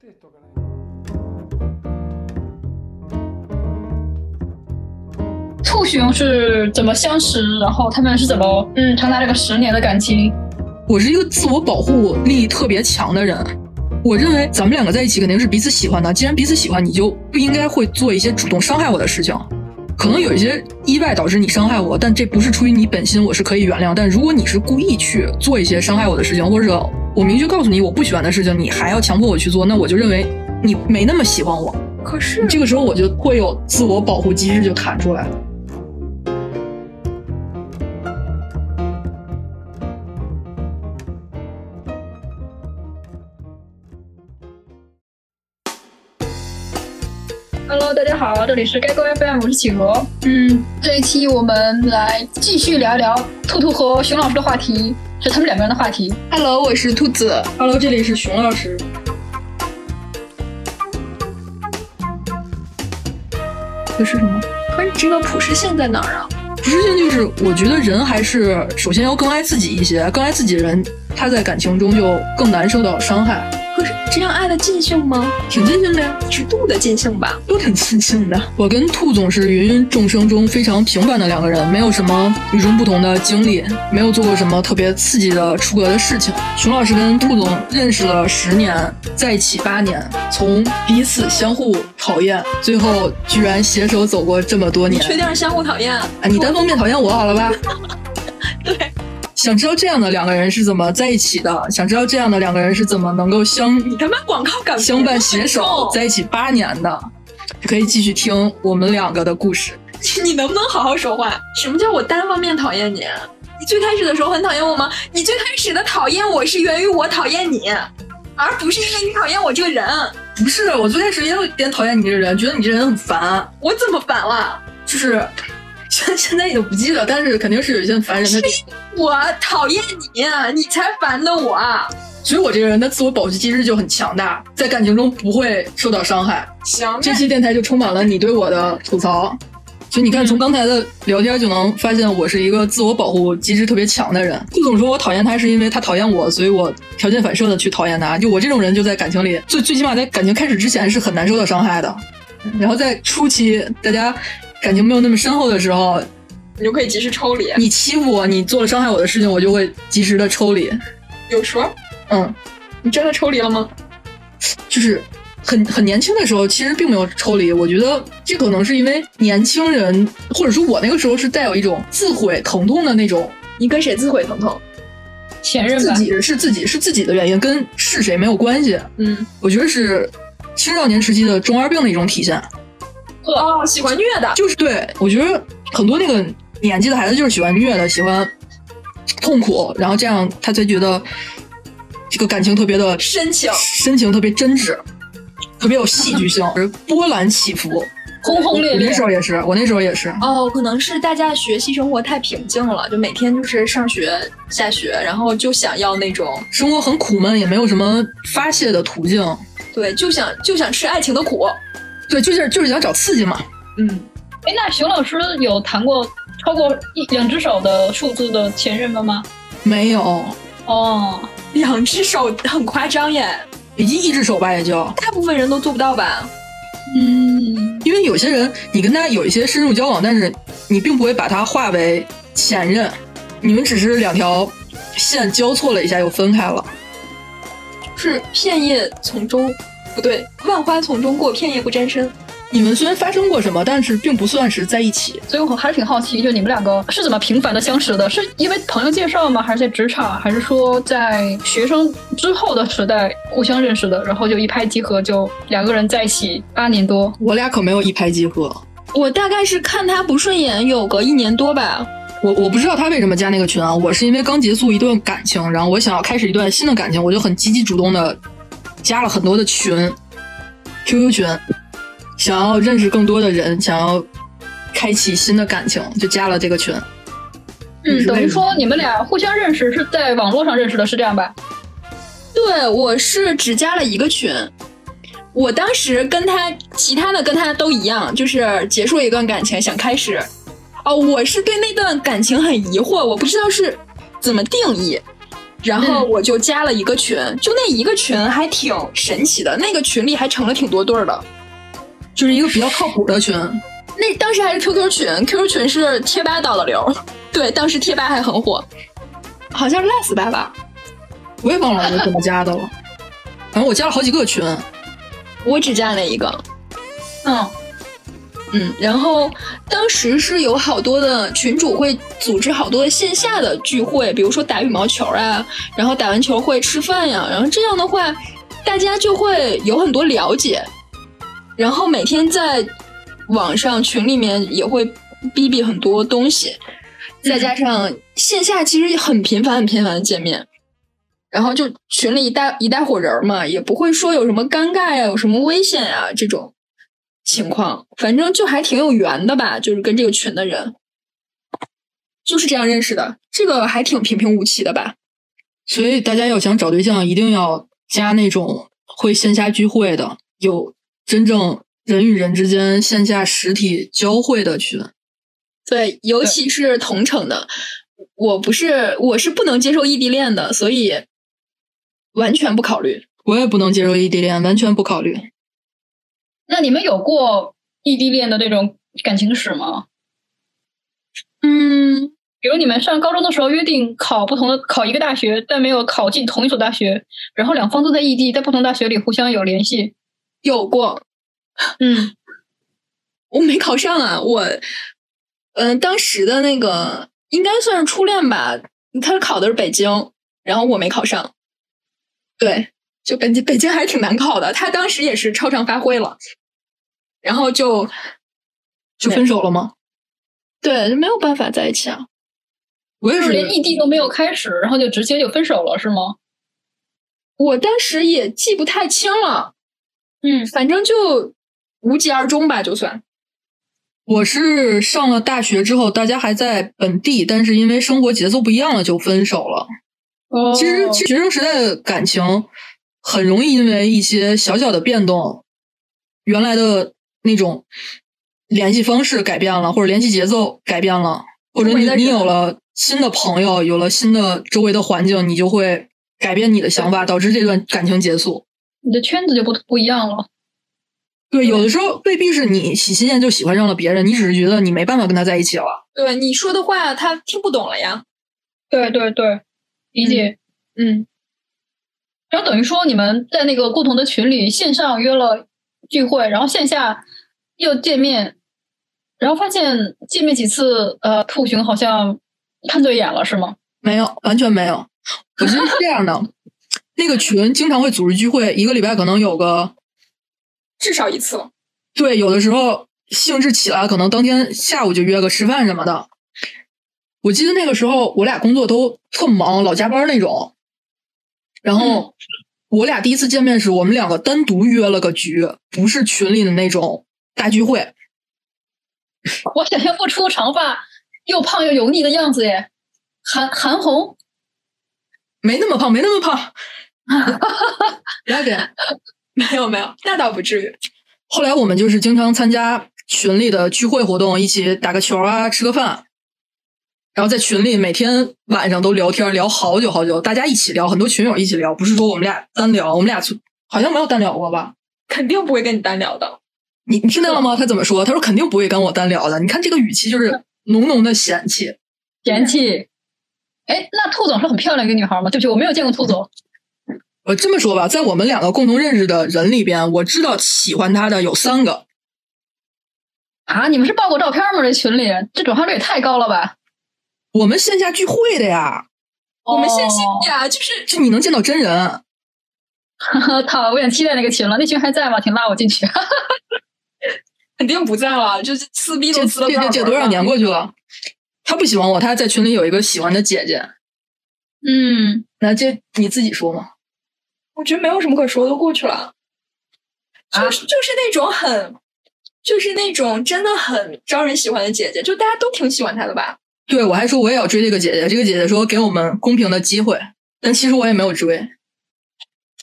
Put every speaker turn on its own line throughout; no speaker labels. Te toca, né?
兔熊是怎么相识，然后他们是怎么嗯长达这个十年的感情？
我是一个自我保护力特别强的人，我认为咱们两个在一起肯定是彼此喜欢的。既然彼此喜欢，你就不应该会做一些主动伤害我的事情。可能有一些意外导致你伤害我，但这不是出于你本心，我是可以原谅。但如果你是故意去做一些伤害我的事情，或者我明确告诉你我不喜欢的事情，你还要强迫我去做，那我就认为你没那么喜欢我。
可是
这个时候我就会有自我保护机制就弹出来了。
Hello，大家好，这里是该沟 FM，我是企鹅。嗯，这一期我们来继续聊一聊兔兔和熊老师的话题，是他们两个人的话题。
Hello，我是兔子。
Hello，这里是熊老师。这是什么？
可是你这个普适性在哪儿啊？
不是性就是，我觉得人还是首先要更爱自己一些，更爱自己的人，他在感情中就更难受到伤害，
可是这样爱的尽兴吗？
挺尽兴的呀，
适度的尽兴吧。
都挺尽兴的。我跟兔总是芸芸众生中非常平凡的两个人，没有什么与众不同的经历，没有做过什么特别刺激的出格的事情。熊老师跟兔总认识了十年，在一起八年，从彼此相互讨厌，最后居然携手走过这么多
你
年。
确定是相互讨厌？
啊，你单方面讨厌我好了 吧？
对。
想知道这样的两个人是怎么在一起的？想知道这样的两个人是怎么能够相
你他妈广告感
相伴携手在一起八年的？可以继续听我们两个的故事。
你能不能好好说话？什么叫我单方面讨厌你？啊你最开始的时候很讨厌我吗？你最开始的讨厌我是源于我讨厌你，而不是因为你讨厌我这个人。
不是，我最开始也有一点讨厌你这个人，觉得你这人很烦，
我怎么烦了？
就是 现现在已经不记得，但是肯定是有一些烦人的点。
我讨厌你，啊你才烦的我。啊
所以我这个人的自我保护机制就很强大，在感情中不会受到伤害。
行，
这期电台就充满了你对我的吐槽。所以你看，从刚才的聊天就能发现，我是一个自我保护机制特别强的人。顾总说我讨厌他是因为他讨厌我，所以我条件反射的去讨厌他。就我这种人，就在感情里最最起码在感情开始之前是很难受到伤害的。然后在初期，大家感情没有那么深厚的时候，
你就可以及时抽离。
你欺负我，你做了伤害我的事情，我就会及时的抽离。
有说，
嗯，
你真的抽离了吗？
就是很很年轻的时候，其实并没有抽离。我觉得这可能是因为年轻人，或者说我那个时候是带有一种自毁疼痛的那种，
你跟谁自毁疼痛？
前任
自
吧，
己是自己是自己的原因，跟是谁没有关系。
嗯，
我觉得是青少年时期的中二病的一种体现，
哦，喜欢虐的，
就是对我觉得很多那个年纪的孩子就是喜欢虐的，喜欢痛苦，然后这样他才觉得这个感情特别的
深情。
深情特别真挚，特别有戏剧性，而波澜起伏。
轰轰烈
我
烈
那时。候也是，我那时候也是。
哦，可能是大家的学习生活太平静了，就每天就是上学、下学，然后就想要那种，
生活很苦闷，也没有什么发泄的途径，
对，就想就想吃爱情的苦。
对，就是就是想找刺激嘛。
嗯，
哎，那熊老师有谈过超过一两只手的数字的前任们吗？
没有，
哦，
两只手很夸张耶，
一一只手吧，也就，
大部分人都做不到吧？
嗯，
因为有些人你跟他有一些深入交往，但是你并不会把他化为前任，你们只是两条线交错了一下又分开了。
是片叶从中，不对，万花丛中过，片叶不沾身。
你们虽然发生过什么，但是并不算是在一起。
所以我还是挺好奇，就你们两个是怎么频繁的相识的？是因为朋友介绍吗？还是在职场？还是说在学生之后的时代互相认识的？然后就一拍即合，就两个人在一起八年多。
我俩可没有一拍即合，
我大概是看他不顺眼，有个一年多吧。
我我不知道他为什么加那个群啊，我是因为刚结束一段感情，然后我想要开始一段新的感情，我就很积极主动的加了很多的群，QQ 群，想要认识更多的人，想要开启新的感情，就加了这个群。
嗯，等于
为
说你们俩互相认识是在网络上认识的，是这样吧？
对，我是只加了一个群。我当时跟他，其他的跟他都一样，就是结束一段感情想开始。哦，我是对那段感情很疑惑，我不知道是怎么定义。然后我就加了一个群，就那一个群还挺神奇的，那个群里还成了挺多对儿的。
就是一个比较靠谱的群。
那当时还是 QQ 群，QQ 群是贴吧到的流儿，对，当时贴吧还很火，好像是 less 吧吧，
我也忘了我怎么加的了，反正我加了好几个群。
我只加了一个，
嗯，
嗯，然后当时是有好多的群主会组织好多的线下的聚会，比如说打羽毛球啊，然后打完球会吃饭呀、然后这样的话，大家就会有很多了解，然后每天在网上群里面也会逼逼很多东西，再加上线下其实很频繁很频繁的见面，然后就群里一大一大伙人儿嘛，也不会说有什么尴尬呀、有什么危险呀、这种情况，反正就还挺有缘的吧，就是跟这个群的人，就是这样认识的，这个还挺平平无奇的吧。
所以大家要想找对象，一定要加那种会线下聚会的，有真正人与人之间线下实体交汇的群。
对，尤其是同城的，我不是我是不能接受异地恋的，所以完全不考虑。
我也不能接受异地恋，完全不考虑。
那你们有过异地恋的这种感情史吗？
嗯，
比如你们上高中的时候约定考不同的考一个大学，但没有考进同一所大学，然后两方都在异地，在不同大学里互相有联系。
有过，
嗯，
我没考上啊，我，嗯、当时的那个应该算是初恋吧，他考的是北京，然后我没考上，对，就北京北京还是挺难考的，他当时也是超常发挥了，然后就
就分手了吗？
对没有办法在一起啊，
我也
就是
是，
连异地都没有开始，然后就直接就分手了，是吗？
我当时也记不太清了，
嗯，
反正就无疾而终吧，就算。
我是上了大学之后，大家还在本地，但是因为生活节奏不一样了，就分手了。
哦
其实，其实学生时代的感情很容易因为一些小小的变动，原来的那种联系方式改变了，或者联系节奏改变了，或者
周围
你
的人
你有了新的朋友，有了新的周围的环境，你就会改变你的想法，导致这段感情结束。
你的圈子就不不一样了。
对，有的时候未必是你喜新厌旧喜欢上了别人，你只是觉得你没办法跟他在一起了。
对你说的话，他听不懂了呀。
对对对，理解。
嗯，
然后等于说你们在那个共同的群里线上约了聚会，然后线下又见面，然后发现见面几次，呃，兔群好像看对眼了，是吗？
没有，完全没有。我觉得是这样的， 那个群经常会组织聚会，一个礼拜可能有个
至少一次。
对，有的时候兴致起来，可能当天下午就约个吃饭什么的。我记得那个时候我俩工作都特忙，老加班那种。然后我俩第一次见面时，我们两个单独约了个局，不是群里的那种大聚会。
我想象不出长发又胖又油腻的样子耶，韩韩红，
没那么胖，没那么胖。 不要脸。
没有没有，那倒不至于。
后来我们就是经常参加群里的聚会活动，一起打个球啊，吃个饭，然后在群里每天晚上都聊天，聊好久好久，大家一起聊，很多群友一起聊，不是说我们俩单聊，我们俩从好像没有单聊过吧？
肯定不会跟你单聊的。
你你听到了吗？他怎么说？他说肯定不会跟我单聊的。你看这个语气就是浓浓的嫌弃。
嫌弃。哎，那兔总是很漂亮一个女孩吗？对不起，我没有见过兔总。
我这么说吧，在我们两个共同认识的人里边，我知道喜欢他的有三个，
啊，你们是爆过照片吗？这群里这转化率也太高了吧！
我们线下聚会的呀，
我们线
哦
下呀，啊就是
就你能见到真人。
哦 讨厌，期待那个群了。那群还在吗？请拉我进去。
肯定不在了，就是撕逼
这
都撕了
这这这多少年
过？
过去了，他不喜欢我，他在群里有一个喜欢的姐姐，
嗯，
那这你自己说嘛？
我觉得没有什么可说的，过去了。就
啊
是就是那种很，就是那种真的很招人喜欢的姐姐，就大家都挺喜欢她的吧。
对我还说我也要追这个姐姐，这个姐姐说给我们公平的机会，但其实我也没有追，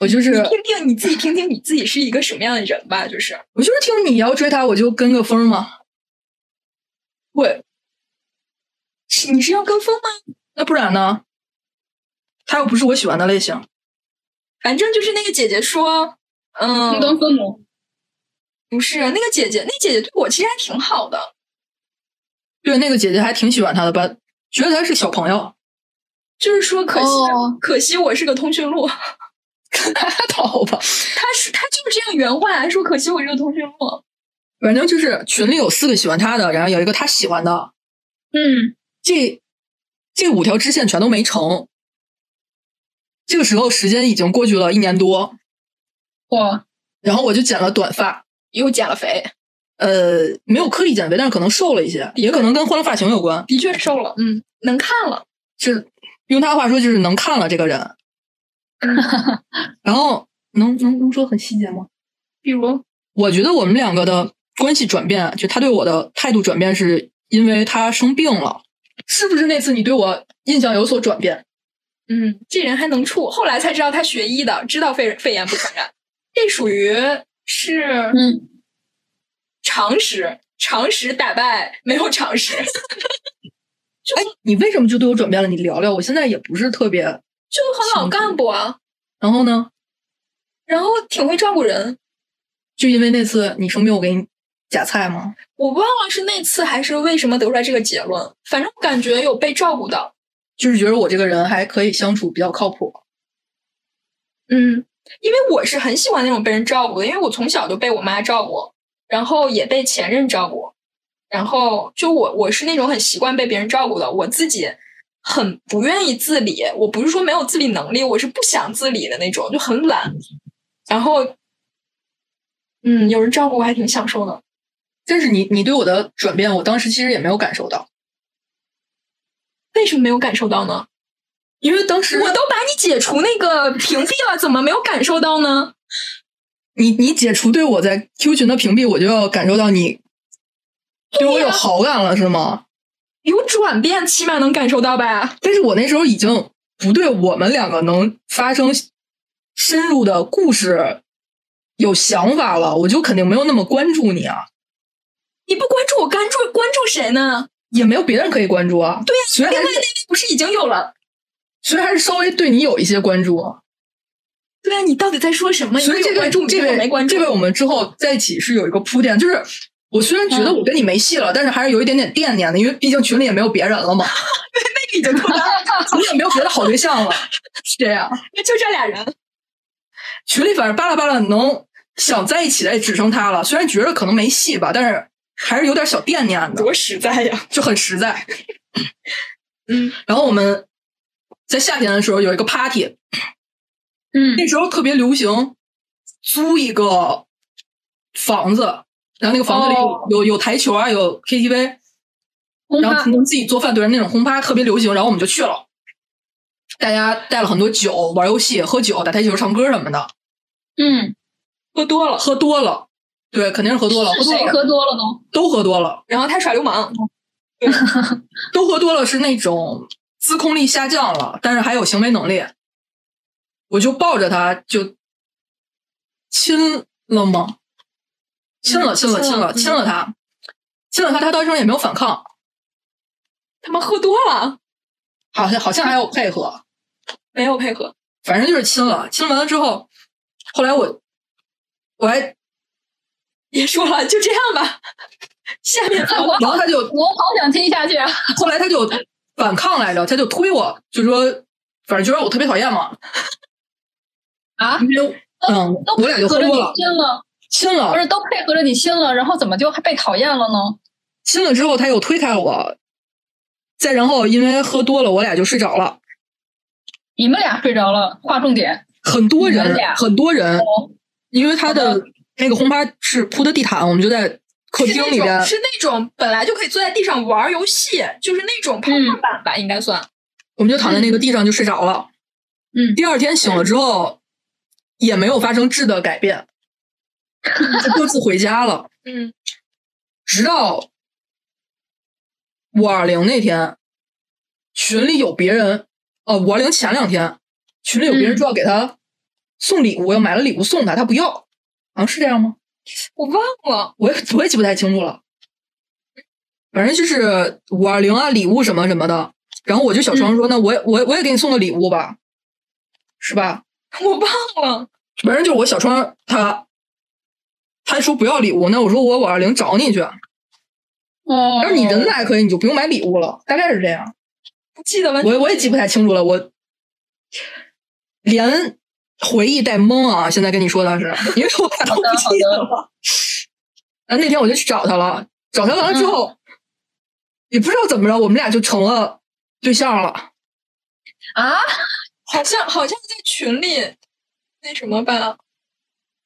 我就是
你听听你自己，听听你自己是一个什么样的人吧。就是
我就是听你要追她，我就跟个风嘛，
我，是你是要跟风吗？
那不然呢？他又不是我喜欢的类型。
反正就是那个姐姐说，嗯
孤，当父母，
不是那个姐姐，那姐姐对我其实还挺好的，
对，那个姐姐还挺喜欢他的吧，觉得他是小朋友，
就是说可惜、
哦
可惜我是个通讯录，
还好吧。
她是她就是这样原话还说可惜我是个通讯录，
反正就是群里有四个喜欢他的，然后有一个他喜欢的，
嗯，
这这五条支线全都没成。这个时候时间已经过去了一年多，
哇，
然后我就剪了短发，
又减了肥，
呃，没有刻意减肥，但是可能瘦了一些，也可能跟换了发型有关。
的确瘦了，
嗯，
能看了，
是用他话说就是能看了这个人，然后能能能说很细节吗？
比如
我觉得我们两个的关系转变，就他对我的态度转变，是因为他生病了，是不是那次你对我印象有所转变？
嗯，这人还能处，后来才知道他学医的，知道肺肺炎不传染，这属于是
嗯，
常识，常识打败没有常识。
哎，你为什么就对我转变了？你聊聊，我现在也不是特别。
就很好干部啊，
然后呢，
然后挺会照顾人。
就因为那次你生病，我给你夹菜吗？
我忘了是那次还是为什么得出来这个结论，反正我感觉有被照顾到。
就是觉得我这个人还可以相处，比较靠谱。
嗯，因为我是很喜欢那种被人照顾的，因为我从小就被我妈照顾，然后也被前任照顾，然后就我我是那种很习惯被别人照顾的，我自己很不愿意自理，我不是说没有自理能力，我是不想自理的那种，就很懒。然后，嗯，有人照顾我还挺享受的。
但是你你对我的转变，我当时其实也没有感受到，
为什么没有感受到呢？
因为当时
我都把你解除那个屏蔽了，怎么没有感受到呢？
你你解除对我在 Q 群的屏蔽，我就要感受到你对我有好感了，是吗？
有转变，起码能感受到吧？
但是我那时候已经不对我们两个能发生深入的故事有想法了，我就肯定没有那么关注你啊，
你不关注我，关注关注谁呢？
也没有别人可以关注啊。对呀、虽然
另
还
外那
是
位不是已经有了？
虽然还是稍微对你有一些关注啊，
对啊，你到底在说什么？
所以
你
这
有
个
关注，
这
个
个
没关注，
这个我们之后在一起是有一个铺垫，就是我虽然觉得我跟你没戏了，但是还是有一点点惦念的，因为毕竟群里也没有别人了嘛，
已经脱单了，
群里也没有别的好对象了， 是这样。
就这俩 人。
群里反正巴拉巴拉能想在一起的也只剩他了，虽然觉得可能没戏吧，但是还是有点小惦念的，
多实在呀！
就很实在。
嗯，
然后我们在夏天的时候有一个 party，
嗯
那时候特别流行租一个房子，然后那个房子里有、
哦
有有台球啊，有 KTV，
轰
嗯
然后
趴
可，能自己做饭，对，那种轰趴特别流行，然后我们就去了。大家带了很多酒，玩游戏、喝酒、打台球、唱歌什么的，
嗯，
喝多了，
喝多了，对，肯定是喝多了，喝
是
多
谁
了
喝多了 呢？
都喝多了，嗯
然后他耍流氓，
都喝多了是那种自控力下降了，但是还有行为能力。我就抱着他就亲了吗？亲
嗯
了，亲了，亲了，亲了他，亲了他，他当时也没有反抗，
他妈喝多了，
好像好像还有配合，
没有配合。
反正就是亲了。亲完了之后，后来我我还，
也说了，就这样吧。下面
哎我
然后他就
我好想听下去啊！
后来他就反抗来着，他就推我，就说反正就让我特别讨厌嘛，
啊，
因为嗯，
都
我俩
配
就
合
喝
着
多
你
了，
亲了，
亲了
不，是都配合着你亲了，然后怎么就还被讨厌了呢？
亲了之后，他又推开我，再然后因为喝多了，我俩就睡着了。
你们俩睡着了，划重点。
很多
你
人
们俩，嗯
很多人，
哦，
因为他
好
的那个轰趴是铺的地毯，我们就在客
是
厅
那
里边
种，是那种本来就可以坐在地上玩游戏，就是那种泡
嗯
泡板吧，应该算。
我们就躺在那个地上就睡着了。
嗯
第二天醒了之后，也没有发生质的改变，就各自回家了。
嗯，
直到五二零那天，群里有别人，呃，五二零前两天，群里有别人
嗯
说要给他送礼物，要买了礼物送他，他不要，好、像是这样吗？
我忘了，
我也我也记不太清楚了，反正就是五二零啊，礼物什么什么的。然后我就小声说：“那我也我也我也给你送个礼物吧。”是吧？
我忘了，
反正就是我小川他，他说不要礼物，那我说我五二零找你去，
哦
要是你人还可以，你就不用买礼物了，大概是这样。
不记得了。
我我也记不太清楚了，我连回忆带懵啊，现在跟你说的是，因为我俩都不记得了。 啊，那天我就去找他了，找他完了之后，也不知道怎么着，我们俩就成了对象了。
啊，
好像好像在群里那什么吧，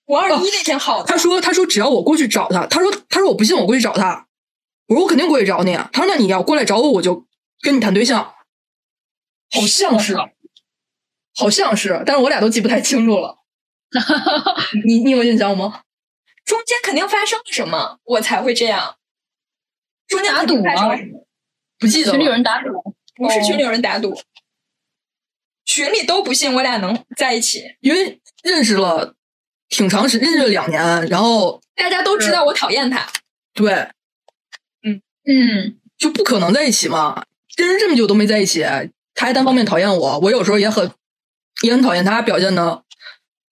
五二一那天好的，
哦他说：“他说只要我过去找他，他说他说我不信，我过去找他。我说我肯定过去找你。啊他说那你要过来找我，我就跟你谈对象。好像是，啊好像是，啊但是我俩都记不太清楚 了。你你有印象吗？
中间肯定发生了什么，我才会这样。中间
打
肯定
赌
发生
吗
了什么？
不记得
群里有
了。
人打赌，
不是
哦
群里有人打赌，群里都不信我俩能在一起。
因为认识了挺长时，认识了两年，然后
大家都知道我讨厌他，
对
嗯，
就不可能在一起嘛。认识这么久都没在一起，他还单方面讨厌我，我有时候也很也很讨厌他，表现的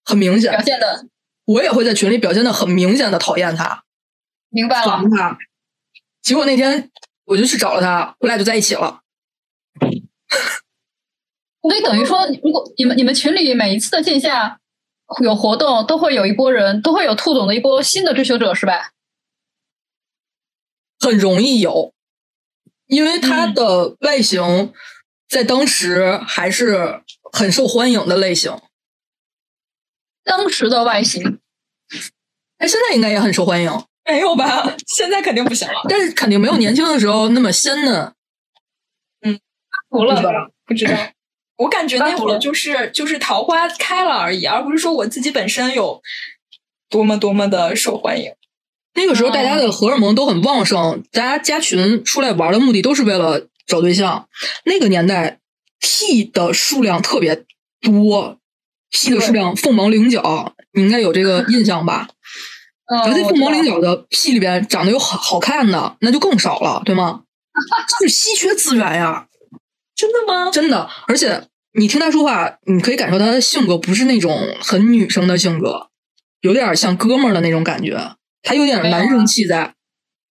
很明显
表。现的
我也会在群里表现的很明显的讨厌他。”
明白了
烦，他。结果那天我就去找了他，我俩就在一起了。
所以等于说，如果你们你们群里每一次的线下有活动，都会有一波人，都会有兔总的一波新的追求者，是吧？
很容易有，因为他的外形在当时还是很受欢迎的类型，
当时的外形，
哎，现在应该也很受欢迎，
没有吧？ 现在肯定不行了，
但是肯定没有年轻的时候那么鲜嫩。
除
是吧
了
不知道。 我感觉那
当
会
然
儿
了
就是就是桃花开了而已，而不是说我自己本身有多么多么的受欢迎。
那个时候大
哦
家的荷尔蒙都很旺盛，大家加群出来玩的目的都是为了找对象。那个年代，T 的数量特别多，T 的数量凤毛麟角，你应该有这个印象吧？
嗯，
而且
我
凤
知
毛麟
道
角的 P 里边长得有好好看的，那就更少了，对吗？就是稀缺资源呀，
真的吗？
真的。而且你听他说话，你可以感受他的性格不是那种很女生的性格，有点像哥们儿的那种感觉，他有点
没有啊
男生气在。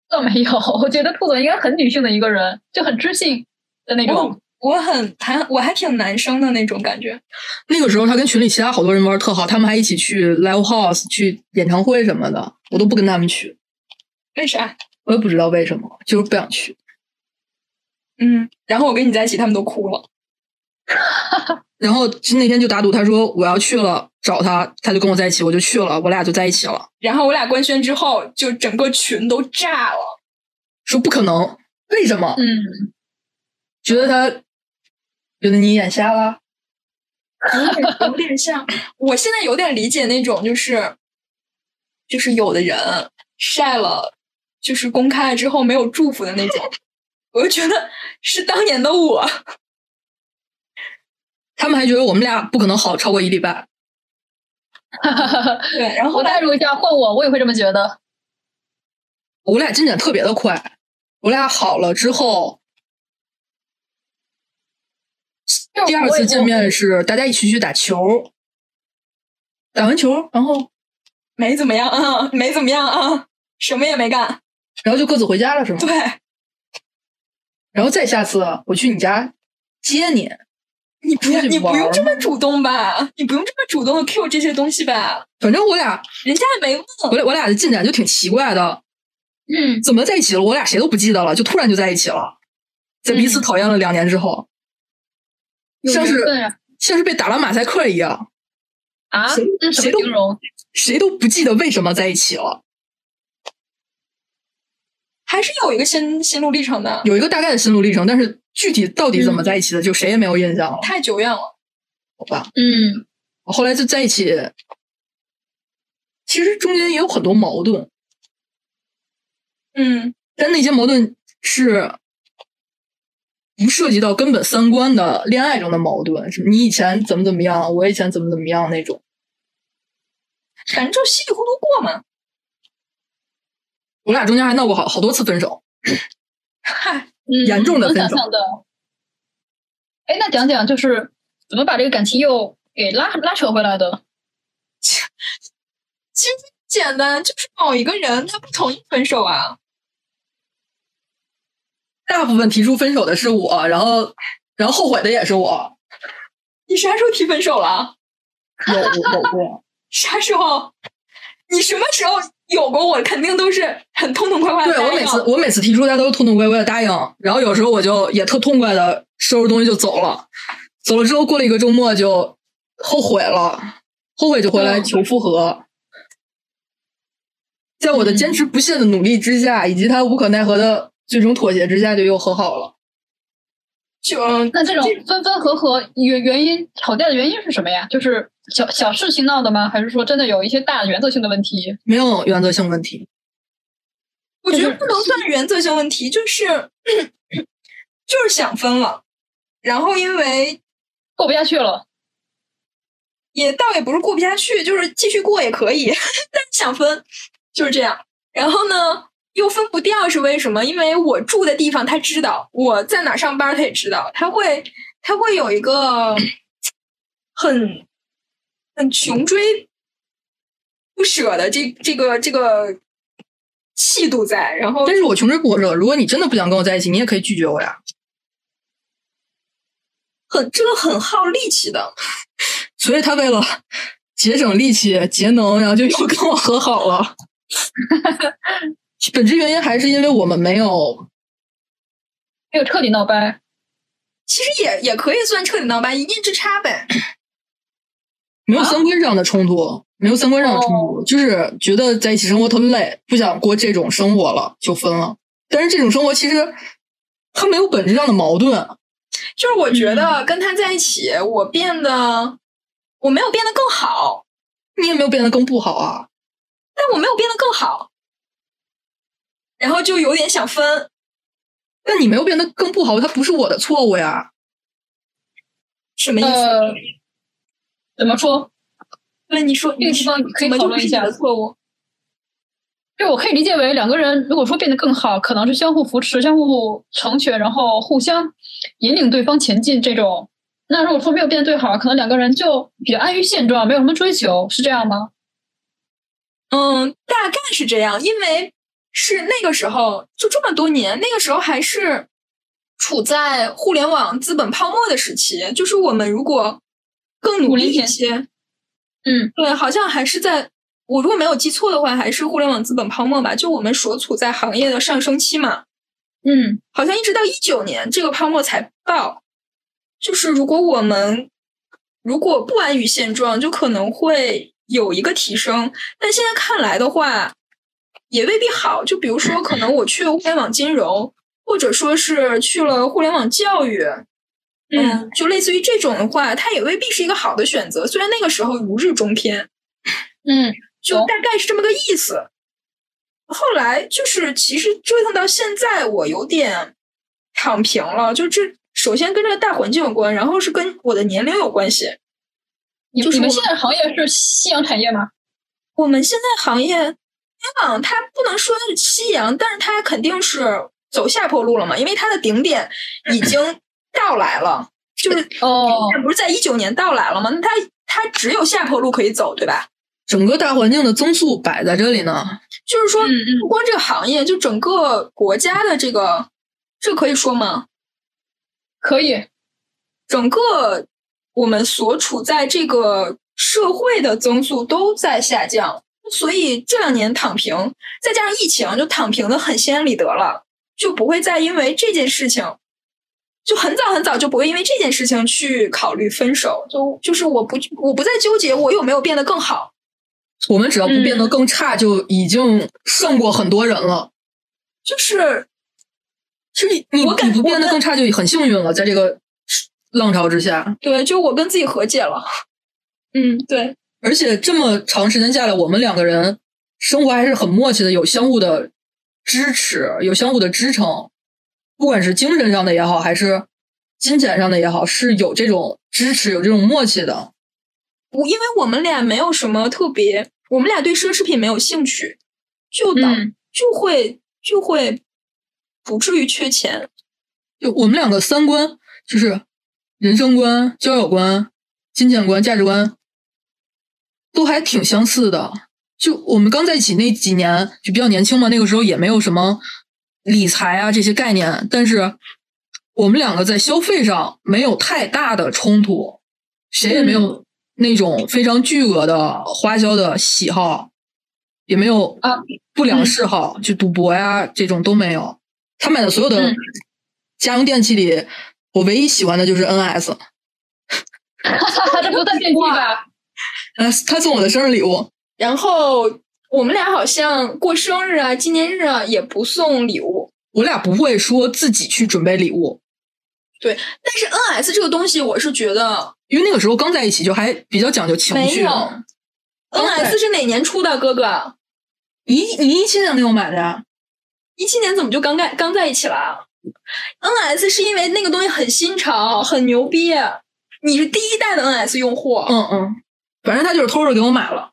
倒没有，我觉得兔总应该很女性的一个人，就很知性的那种
哦
我。我很还我还挺男生的那种感觉。
那个时候他跟群里其他好多人玩儿特好，他们还一起去 live house、去演唱会什么的，我都不跟他们去，
为啥？
我也不知道为什么，就是不想去。
嗯，然后我跟你在一起，他们都哭了。
然后就那天就打赌，他说我要去了找他，他就跟我在一起，我就去了，我俩就在一起了。
然后我俩官宣之后，就整个群都炸了。
说不可能，为什么？
嗯，
觉得他觉得你眼瞎了？
有点有点像。我现在有点理解那种，就是就是有的人晒了，就是公开了之后没有祝福的那种，我就觉得是当年的我。
他们还觉得我们俩不可能好超过一礼拜。
对，然后后
我代
来
入一下，换我我也会这么觉得。
我俩进展特别的快，我俩好了之后，
就是
第二
我也
次见，面是大家一起去打球，打完球，然后
没怎么样啊，没怎么样啊，什么也没干。
然后就各自回家了，是吗？
对，
然后再下次我去你家接你，
你不
出去
你不
玩
用
儿
这么主动吧，你不用这么主动的 cue 这些东西吧，
反正我俩
人家也没问。
我俩我俩的进展就挺奇怪的，
嗯，
怎么在一起了？我俩谁都不记得了，就突然就在一起了，在彼此讨厌了两年之
嗯
后，
有
像
缘
是
分呀
像是被打了马赛克一样。
啊，
谁
这是
谁
什
都
么形容？
谁都不记得为什么在一起了，
还是有一个心心路历程的，
有一个大概的心路历程，但是具体到底怎
嗯
么在一起的，就谁也没有印象了，
太久远了。
好吧？
嗯，
后来就在一起，其实中间也有很多矛盾，
嗯，
但那些矛盾是不涉及到根本三观的恋爱中的矛盾，什么你以前怎么怎么样，我以前怎么怎么样那种。
反正就稀里糊涂过嘛。
我俩中间还闹过好好多次分手，
嗨，
嗯
严重的
能
分
想
手
象的。哎，那讲讲就是怎么把这个感情又给拉拉扯回来的。
其实简单，就是某一个人他不同意分手啊。
大部分提出分手的是我，然后然后后悔的也是我，
你啥时候提分手了？
有有过，
啥时候？你什么时候有过我？肯定都是很痛痛快快的。
对 我每次我每次提出，他都是痛痛快快的答应，然后有时候我就也特痛快的收拾东西就走了，走了之后过了一个周末就后悔了，后悔就回来求复合。在我的坚持不懈的努力之下，以及他无可奈何的最终妥协之下，就又和好了。
就
那这种分分合合原原因吵架的原因是什么呀？就是小小事情闹的吗？还是说真的有一些大原则性的问题？
没有原则性问题，
我觉得不能算原则性问题，就是 就是想分了，然后因为
过不下去了，
也倒也不是过不下去，就是继续过也可以， 但是想分就是这样。然后呢，又分不掉是为什么？因为我住的地方他知道，我在哪上班他也知道，他会他会有一个很很穷追不舍的这这个这个气度在，然后
但是我穷追不舍。如果你真的不想跟我在一起，你也可以拒绝我呀。
很这个很耗力气的。
所以他为了节省力气、节能，然后就又跟我和好了。本质原因还是因为我们没有，
没有彻底闹掰。
其实也也可以算彻底闹掰，一念之差呗。
没有三观上的冲突，没有三观上的冲突，就是觉得在一起生活特累，不想过这种生活了，就分了。但是这种生活其实它没有本质上的矛盾，
就是我
嗯
觉得跟他在一起，我变得我没有变得更好，
你也没有变得更不好啊。
但我没有变得更好，然后就有点想分。
但你没有变得更不好，它不是我的错误呀。
什么意思？
呃，怎么说？
对，你说
这个地方可
怎
以
么
讨
就
论
不是
一
你
下
的错误？
就我可以理解为两个人如果说变得更好，可能是相互扶持、相互成全，然后互相引领对方前进这种。那如果说没有变得最好，可能两个人就比较安于现状，没有什么追求，是这样吗？
嗯，大概是这样，因为是那个时候，就这么多年，那个时候还是处在互联网资本泡沫的时期，就是我们如果更努
五
力
年
一
前
些，
嗯，
对，好像还是在我如果没有记错的话，还是互联网资本泡沫吧，就我们所处在行业的上升期嘛，
嗯，
好像一直到一九年这个泡沫才爆。就是如果我们如果不安于现状，就可能会有一个提升。但现在看来的话，也未必好。就比如说，可能我去了互联网金融，或者说是去了互联网教育，嗯，就类似于这种的话，它也未必是一个好的选择。虽然那个时候如日中天，
嗯，
就
懂
大概是这么个意思。后来就是，其实折腾到现在，我有点躺平了。就这，首先跟这个大环境有关，然后是跟我的年龄有关系。
你
就是
你们
我
现在行业是夕阳产业吗？
我们现在行业，天网它不能说是夕阳，但是它肯定是走下坡路了嘛，因为它的顶点已经到来了，就是
哦，
它不是在一九年到来了吗？那它它只有下坡路可以走，对吧？
整个大环境的增速摆在这里呢，
就是说，
嗯嗯
不光这个行业，就整个国家的这个，这可以说吗？
可以，
整个我们所处在这个社会的增速都在下降，所以这两年躺平，再加上疫情，就躺平的很心安理得了，就不会再因为这件事情，就很早很早就不会因为这件事情去考虑分手，就就是我不我不再纠结我有没有变得更好，
我们只要不变得更差，就已经胜过很多人了。
就是
是你你
我感
你不变得
我感
更差就很幸运了，在这个浪潮之下，
对，就我跟自己和解了， 嗯，对，
而且这么长时间下来，我们两个人生活还是很默契的，有相互的支持，有相互的支撑，不管是精神上的也好，还是金钱上的也好，是有这种支持，有这种默契的。
我因为我们俩没有什么特别，我们俩对奢侈品没有兴趣，就导、
嗯
就会就会不至于缺钱。
就我们两个三观，就是人生观、交友观、金钱观、价值观都还挺相似的。就我们刚在一起那几年，就比较年轻嘛，那个时候也没有什么理财啊这些概念，但是我们两个在消费上没有太大的冲突，谁也没
嗯
有那种非常巨额的花销的喜好，也没有
啊
不良嗜好，就赌博呀这种都没有。他买的所有的
嗯
家用电器里，我唯一喜欢的就是 NS，
这不算电器吧？
呃，他送我的生日礼物，
然后我们俩好像过生日啊、纪念日啊也不送礼物，
我俩不会说自己去准备礼物，
但是 NS 这个东西，我是觉得
因为那个时候刚在一起就还比较讲究情啊
没
绪。
有。NS 是哪年出的，哥哥？
你你一七年给我买的呀？
一七年怎么就刚在刚在一起了啊？NS 是因为那个东西很新潮，很牛逼。你是第一代的 NS 用户，
嗯嗯，反正他就是偷着给我买了，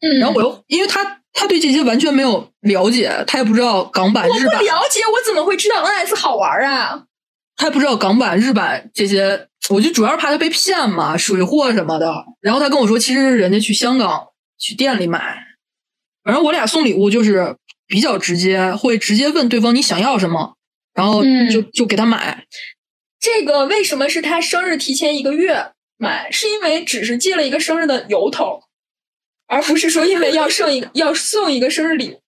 嗯，
然后我又因为他他对这些完全没有了解，他也不知道港版、日版，
了解我怎么会知道 NS 好玩啊？
他也不知道港版、日版这些，我就主要是怕他被骗嘛，水货什么的。然后他跟我说，其实是人家去香港去店里买，反正我俩送礼物就是比较直接，会直接问对方你想要什么，然后
嗯
就、就给他买。
这个为什么是他生日提前一个月买？是因为只是借了一个生日的由头，而不是说因为要送一 个要送一个生日礼物，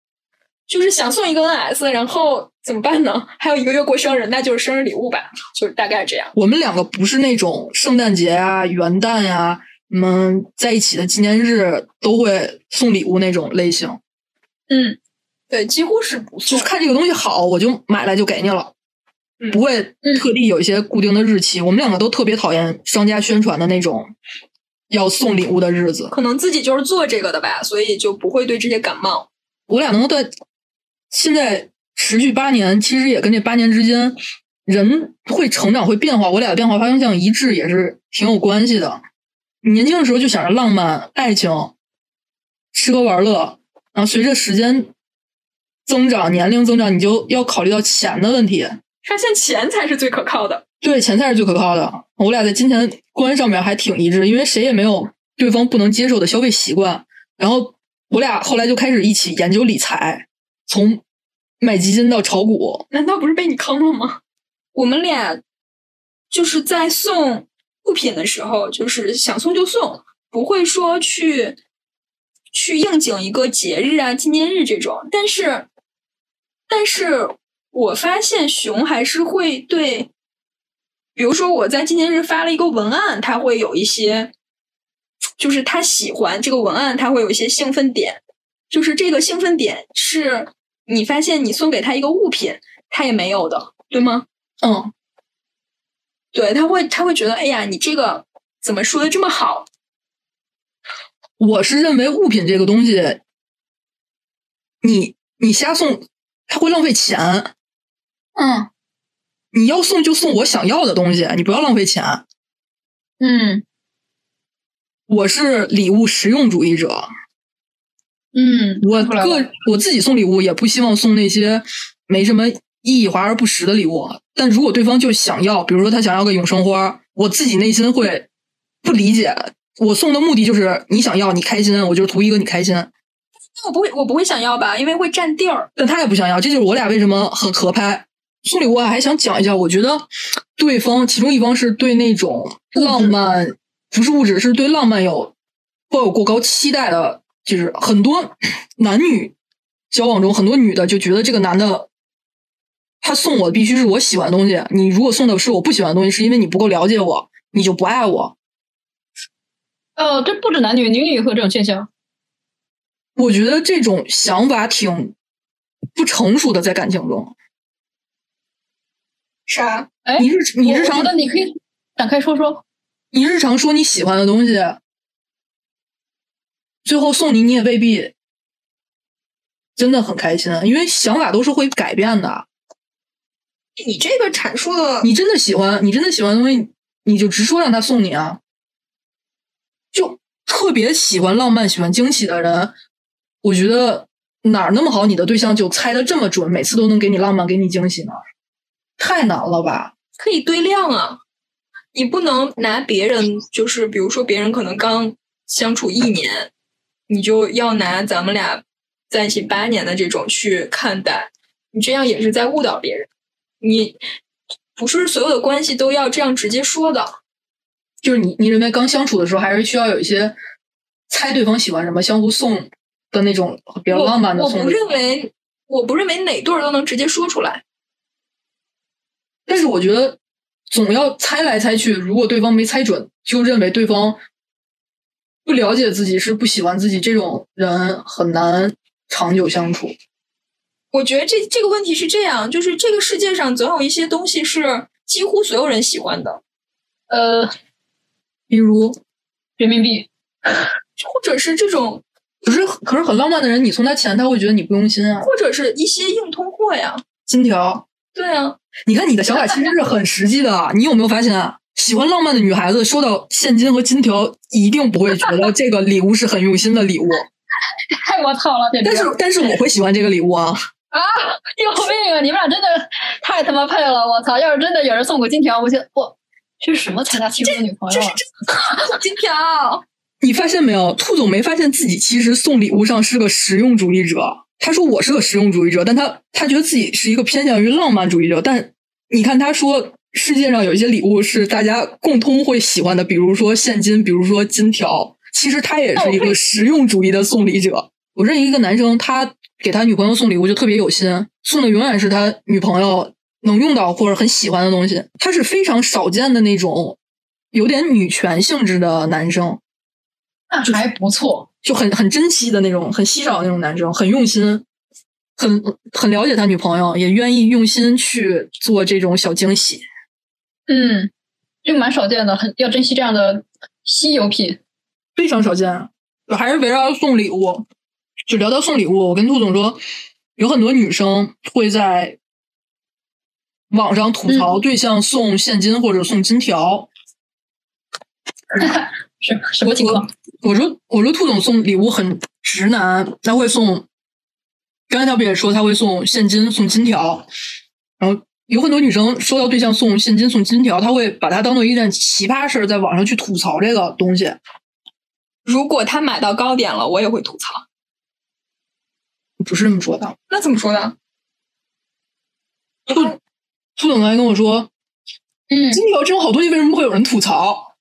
就是想送一个 NS，然后怎么办呢？还有一个月过生日，那就是生日礼物吧，就是大概这样。
我们两个不是那种圣诞节啊、元旦呀、啊，我们在一起的纪念日都会送礼物那种类型，
嗯，对，几乎是不
就
送
是。看这个东西好，我就买来就给你了。
嗯
不会特地有一些固定的日期，我们两个都特别讨厌商家宣传的那种要送礼物的日子。
可能自己就是做这个的吧，所以就不会对这些感冒。
我俩能够在现在持续八年，其实也跟这八年之间人会成长会变化，我俩的变化方向一致也是挺有关系的。你年轻的时候就想着浪漫、爱情、吃喝玩乐，然后随着时间增长、年龄增长，你就要考虑到钱的问题。
发现钱才是最可靠的。
对，钱才是最可靠的。我俩在金钱观上面还挺一致，因为谁也没有对方不能接受的消费习惯。然后我俩后来就开始一起研究理财，从买基金到炒股。
难道不是被你坑了吗？我们俩就是在送物品的时候，就是想送就送，不会说去去应景一个节日啊、纪念日这种。但是，但是我发现熊还是会对，比如说我在纪念日发了一个文案，他会有一些，就是他喜欢这个文案，他会有一些兴奋点。就是这个兴奋点是你发现你送给他一个物品，他也没有的，对吗？
嗯，
对，他会他会觉得，哎呀，你这个怎么说的这么好？
我是认为物品这个东西，你你瞎送，它会浪费钱。
嗯
你要送就送我想要的东西，你不要浪费钱。
嗯
我是礼物实用主义者，
嗯，
我
看出来了
个我自己送礼物也不希望送那些没什么意义、华而不实的礼物。啊但如果对方就想要，比如说他想要个永生花，我自己内心会不理解。我送的目的就是你想要，你开心，我就是图一个你开心。
那我不会，我不会想要吧，因为会占地儿。
但他也不想要，这就是我俩为什么很合拍。送礼物啊，还想讲一下，我觉得对方其中一方是对那种浪漫，不是物质，是对浪漫有抱有过高期待的，就是很多男女交往中，很多女的就觉得这个男的他送我必须是我喜欢的东西，你如果送的是我不喜欢的东西，是因为你不够了解我，你就不爱我。
呃，这不止男女，女女也会有这种现象。
我觉得这种想法挺不成熟的，在感情中，
啥？
哎，
你日你
我
日
我
常
觉得你可以展开说说。
你日常说你喜欢的东西，最后送你，你也未必真的很开心，啊因为想法都是会改变的。
你这个阐述的，
你真的喜欢，你真的喜欢的东西，你就直说让他送你啊。就特别喜欢浪漫、喜欢惊喜的人，我觉得哪儿那么好，你的对象就猜的这么准，每次都能给你浪漫、给你惊喜呢？太难了吧？
可以堆量啊。你不能拿别人，就是比如说别人可能刚相处一年，你就要拿咱们俩在一起八年的这种去看待，你这样也是在误导别人。你不是所有的关系都要这样直接说的。
就是你你认为刚相处的时候，还是需要有一些猜对方喜欢什么，相互送的那种比较
我
浪漫的
我
送
不
礼。
认为，我不认为哪对儿都能直接说出来。
但是我觉得总要猜来猜去，如果对方没猜准，就认为对方不了解自己是不喜欢自己，这种人很难长久相处。
我觉得这这个问题是这样，就是这个世界上总有一些东西是几乎所有人喜欢的，
呃，
比如，
人民币，
或者是这种，
可是可是很浪漫的人，你送他钱，他会觉得你不用心啊。
或者是一些硬通货呀。
金条，
对啊，
你看你的想法其实是很实际的啊，你有没有发现啊？喜欢浪漫的女孩子收到现金和金条，一定不会觉得这个礼物是很用心的礼物。
太我操了，简直！
但是但是我会喜欢这个礼物啊。
有病啊！你们俩真的太他妈配了！我操！要是真的有人送我金条，我就我这是什么财大气粗的女朋友、啊？
金条，
你发现没有，兔总没发现自己其实送礼物上是个实用主义者。他说我是个实用主义者，但他他觉得自己是一个偏向于浪漫主义者。但你看他说，世界上有一些礼物是大家共通会喜欢的，比如说现金，比如说金条。其实他也是一个实用主义的送礼者。我认识一个男生，他给他女朋友送礼物就特别有心，送的永远是他女朋友能用到或者很喜欢的东西。他是非常少见的那种有点女权性质的男生。
那还不错，
就很很珍惜的那种，很稀少的那种男生，很用心，很很了解他女朋友，也愿意用心去做这种小惊喜。
嗯，这个蛮少见的，很要珍惜这样的稀有品。
非常少见。我还是围绕送礼物，就聊到送礼物，我跟兔总说，有很多女生会在网上吐槽对象送现金或者送金条。
是什么情况？
我说我说兔总送礼物很直男，他会送，刚才他不也说他会送现金送金条，然后有很多女生收到对象送现金送金条，她会把它当做一件奇葩事儿，在网上去吐槽这个东西。
如果他买到高点了，我也会吐槽。
不是这么说的，
那怎么说呢？
兔总刚才跟我说，
嗯，
金条这种好东西为什么会有人吐槽？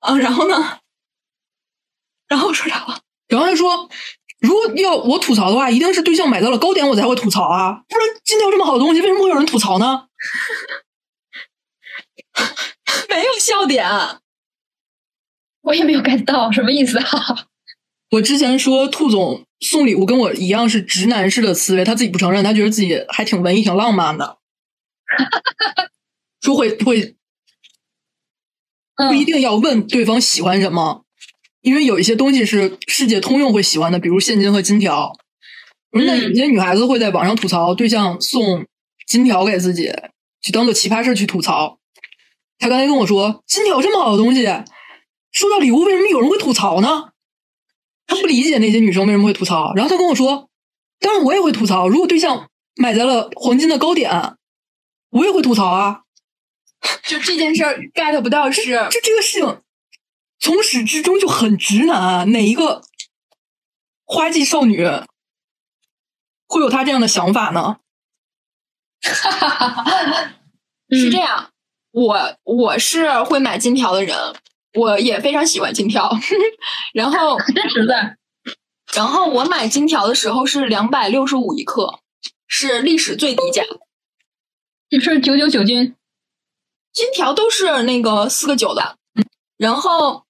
啊，然后呢？然后说啥了？
然后他说，如果要我吐槽的话，一定是对象买到了高点我才会吐槽啊，不然金条这么好的东西为什么会有人吐槽呢？
没有笑点，
我也没有 get 到什么意思啊？
我之前说兔总送礼物跟我一样是直男式的思维，他自己不承认，他觉得自己还挺文艺、挺浪漫的， 说会会不一
嗯
定要问对方喜欢什么，因为有一些东西是世界通用会喜欢的，比如现金和金条。我说那有些女孩子会在网上吐槽对象送金条给自己，就当做奇葩事去吐槽。他刚才跟我说，金条这么好的东西，收到礼物为什么有人会吐槽呢？他不理解那些女生为什么会吐槽。然后他跟我说，当然我也会吐槽，如果对象买在了黄金的高点，我也会吐槽啊。
就这件事儿 get 不到是
这这个事情从始至终就很直男啊！哪一个花季少女会有她这样的想法呢？
是这
嗯
样，
样。我我是会买金条的人，我也非常喜欢金条。 然后
嗯真实在。
然后我买金条的时候是两百六十五一克，是历史最低价。
你是九九九斤，
金条都是那个四个九的，嗯然后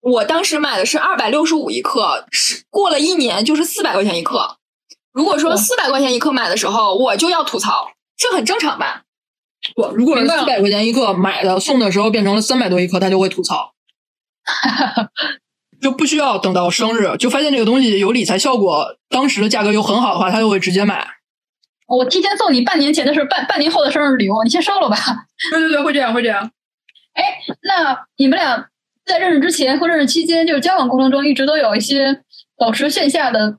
我当时买的是二百六十五一克，是过了一年就是四百块钱一克。如果说
哇
四百块钱一克买的时候，我就要吐槽，这很正常吧？
不，如果是
明白了
四百块钱一克买的，送的时候变成了三百多一克，他就会吐 槽。就不需要等到生日，就发现这个东西有理财效果，当时的价格又很好的话，他就会直接买。
我提前送你半年前的事，半半年后的生日礼物，你先收了吧。
对对对，会这样，会这样。
那你们俩在认识之前或认识期间，就是交往过程中，一直都有一些保持线下的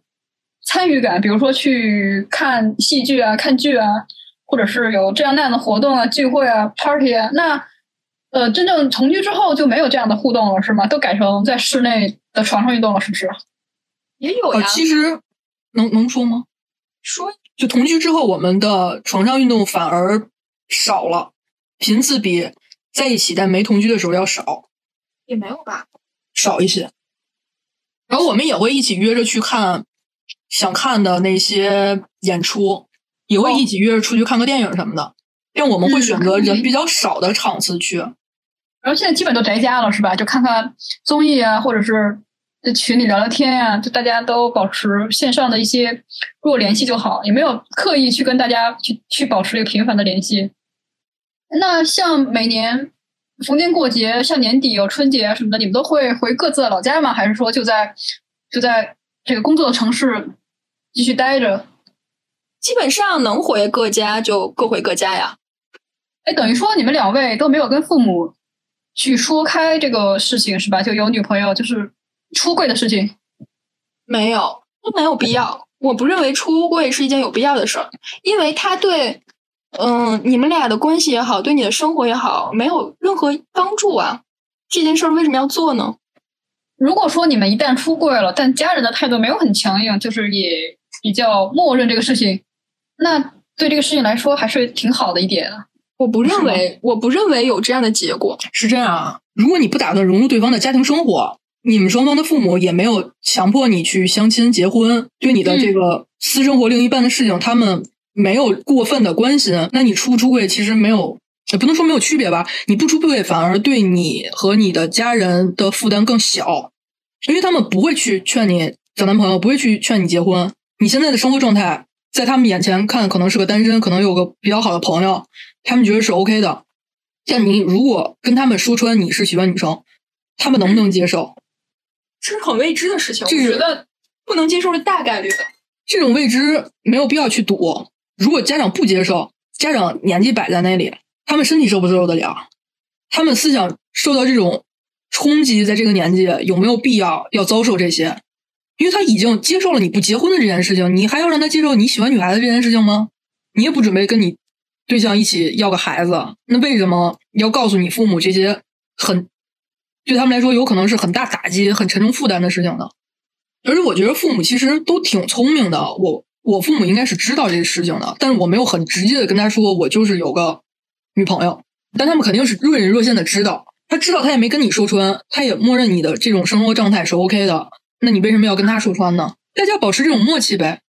参与感，比如说去看戏剧啊、看剧啊，或者是有这样那样的活动啊、聚会啊、party 啊，那呃，真正同居之后就没有这样的互动了，是吗？都改成在室内的床上运动了，是不是？
也有
呃，
呀，
其实能能说吗？
说
就同居之后，我们的床上运动反而少了，频次比在一起但没同居的时候要少
也没有吧。
少一些。然后我们也会一起约着去看想看的那些演出，也会一起约着出去看个电影什么的。但我们
嗯
会选择人比较少的场次去。
然后现在基本都宅家了，是吧？就看看综艺啊，或者是在群里聊聊天呀、就大家都保持线上的一些弱联系就好，也没有刻意去跟大家去去保持一个频繁的联系。那像每年逢年过节，像年底有春节啊什么的，你们都会回各自的老家吗？还是说就在就在这个工作的城市继续待着？
基本上能回各家就各回各家呀。
哎，等于说你们两位都没有跟父母去说开这个事情是吧？就有女朋友就是出柜的事情。
没有，都没有必要。我不认为出柜是一件有必要的事儿，因为他对，嗯、你们俩的关系也好，对你的生活也好，没有任何帮助啊。这件事儿为什么要做呢？
如果说你们一旦出柜了，但家人的态度没有很强硬，就是也比较默认这个事情，那对这个事情来说还是挺好的一点啊。
我不认
是吗
为，我不认为有这样的结果。
是这样啊，如果你不打算融入对方的家庭生活，你们双方的父母也没有强迫你去相亲结婚，对你的这个私生活另一半的事情，他们没有过分的关心，那你出不出柜其实没有。也不能说没有区别吧，你不出柜反而对你和你的家人的负担更小，因为他们不会去劝你找男朋友，不会去劝你结婚。你现在的生活状态，在他们眼前看可能是个单身，可能有个比较好的朋友，他们觉得是 OK 的。但你如果跟他们说穿你是喜欢女生，他们能不能接受？
这是很未知的事情，我
这是
觉得不能接受是大概率的。
这种未知没有必要去赌。如果家长不接受，家长年纪摆在那里，他们身体受不受得了？他们思想受到这种冲击，在这个年纪有没有必要要遭受这些？因为他已经接受了你不结婚的这件事情，你还要让他接受你喜欢女孩子这件事情吗？你也不准备跟你对象一起要个孩子，那为什么要告诉你父母这些很对他们来说有可能是很大打击、很沉重负担的事情呢？而且我觉得父母其实都挺聪明的，我我父母应该是知道这些事情的，但是我没有很直接的跟他说我就是有个女朋友，但他们肯定是若隐若现的知道，他知道他也没跟你说穿，他也默认你的这种生活状态是 OK 的，那你为什么要跟他说穿呢？大家保持这种默契呗。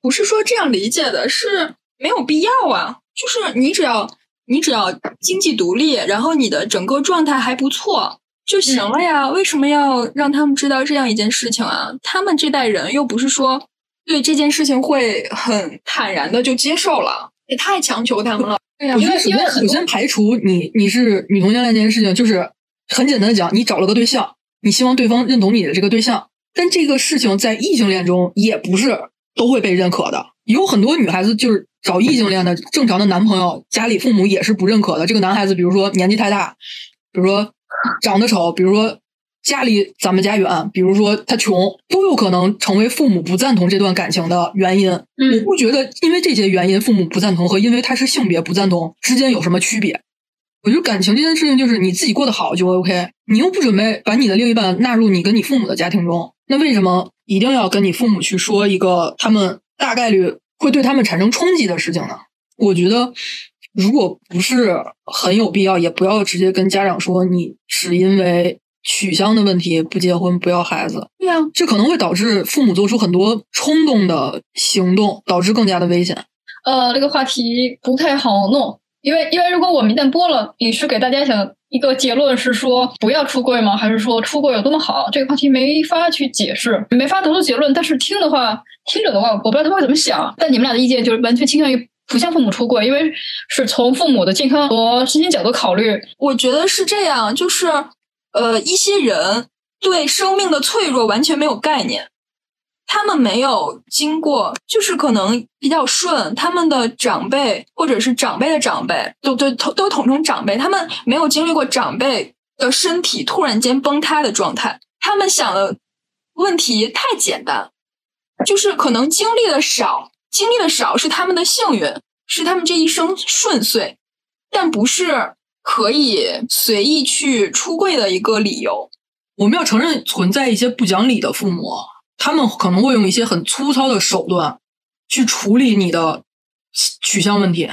不是说这样理解的，是没有必要啊。就是你只要你只要经济独立，然后你的整个状态还不错就行了呀。为什么要让他们知道这样一件事情啊？他们这代人又不是说对这件事情会很坦然的就接受了，也太强求他们了。
对呀、
我
因
觉得
为
首
因为
先
很
首
多
先排除你你是女同性恋这件事情，就是很简单的讲，你找了个对象，你希望对方认同你的这个对象，但这个事情在异性恋中也不是都会被认可的。有很多女孩子就是找异性恋的正常的男朋友，家里父母也是不认可的。这个男孩子，比如说年纪太大，比如说长得丑，比如说家离咱们家远，比如说他穷，都有可能成为父母不赞同这段感情的原因。我
嗯，
不觉得因为这些原因父母不赞同和因为他是性别不赞同之间有什么区别。我觉得感情这件事情就是你自己过得好就 OK，你又不准备把你的另一半纳入你跟你父母的家庭中，那为什么一定要跟你父母去说一个他们大概率会对他们产生冲击的事情呢？我觉得如果不是很有必要，也不要直接跟家长说你是因为取向的问题不结婚不要孩子，
对啊呀、
这可能会导致父母做出很多冲动的行动，导致更加的危险。
呃，这个话题不太好弄，因为因为如果我们一旦播了，你是给大家想一个结论是说不要出柜吗？还是说出柜有多么好？这个话题没法去解释，没法得出结论。但是听的话，听者的话，我不知道他会怎么想。但你们俩的意见就是完全倾向于不向父母出柜，因为是从父母的健康和身心角度考虑，
我觉得是这样，就是呃，一些人对生命的脆弱完全没有概念，他们没有经过，就是可能比较顺，他们的长辈或者是长辈的长辈，都都都都统称长辈，他们没有经历过长辈的身体突然间崩塌的状态，他们想的问题太简单，就是可能经历的少，经历的少是他们的幸运，
是他们这一生顺遂，但不是可以随意去出柜的一个理由。
我们要承认存在一些不讲理的父母，他们可能会用一些很粗糙的手段去处理你的取向问题，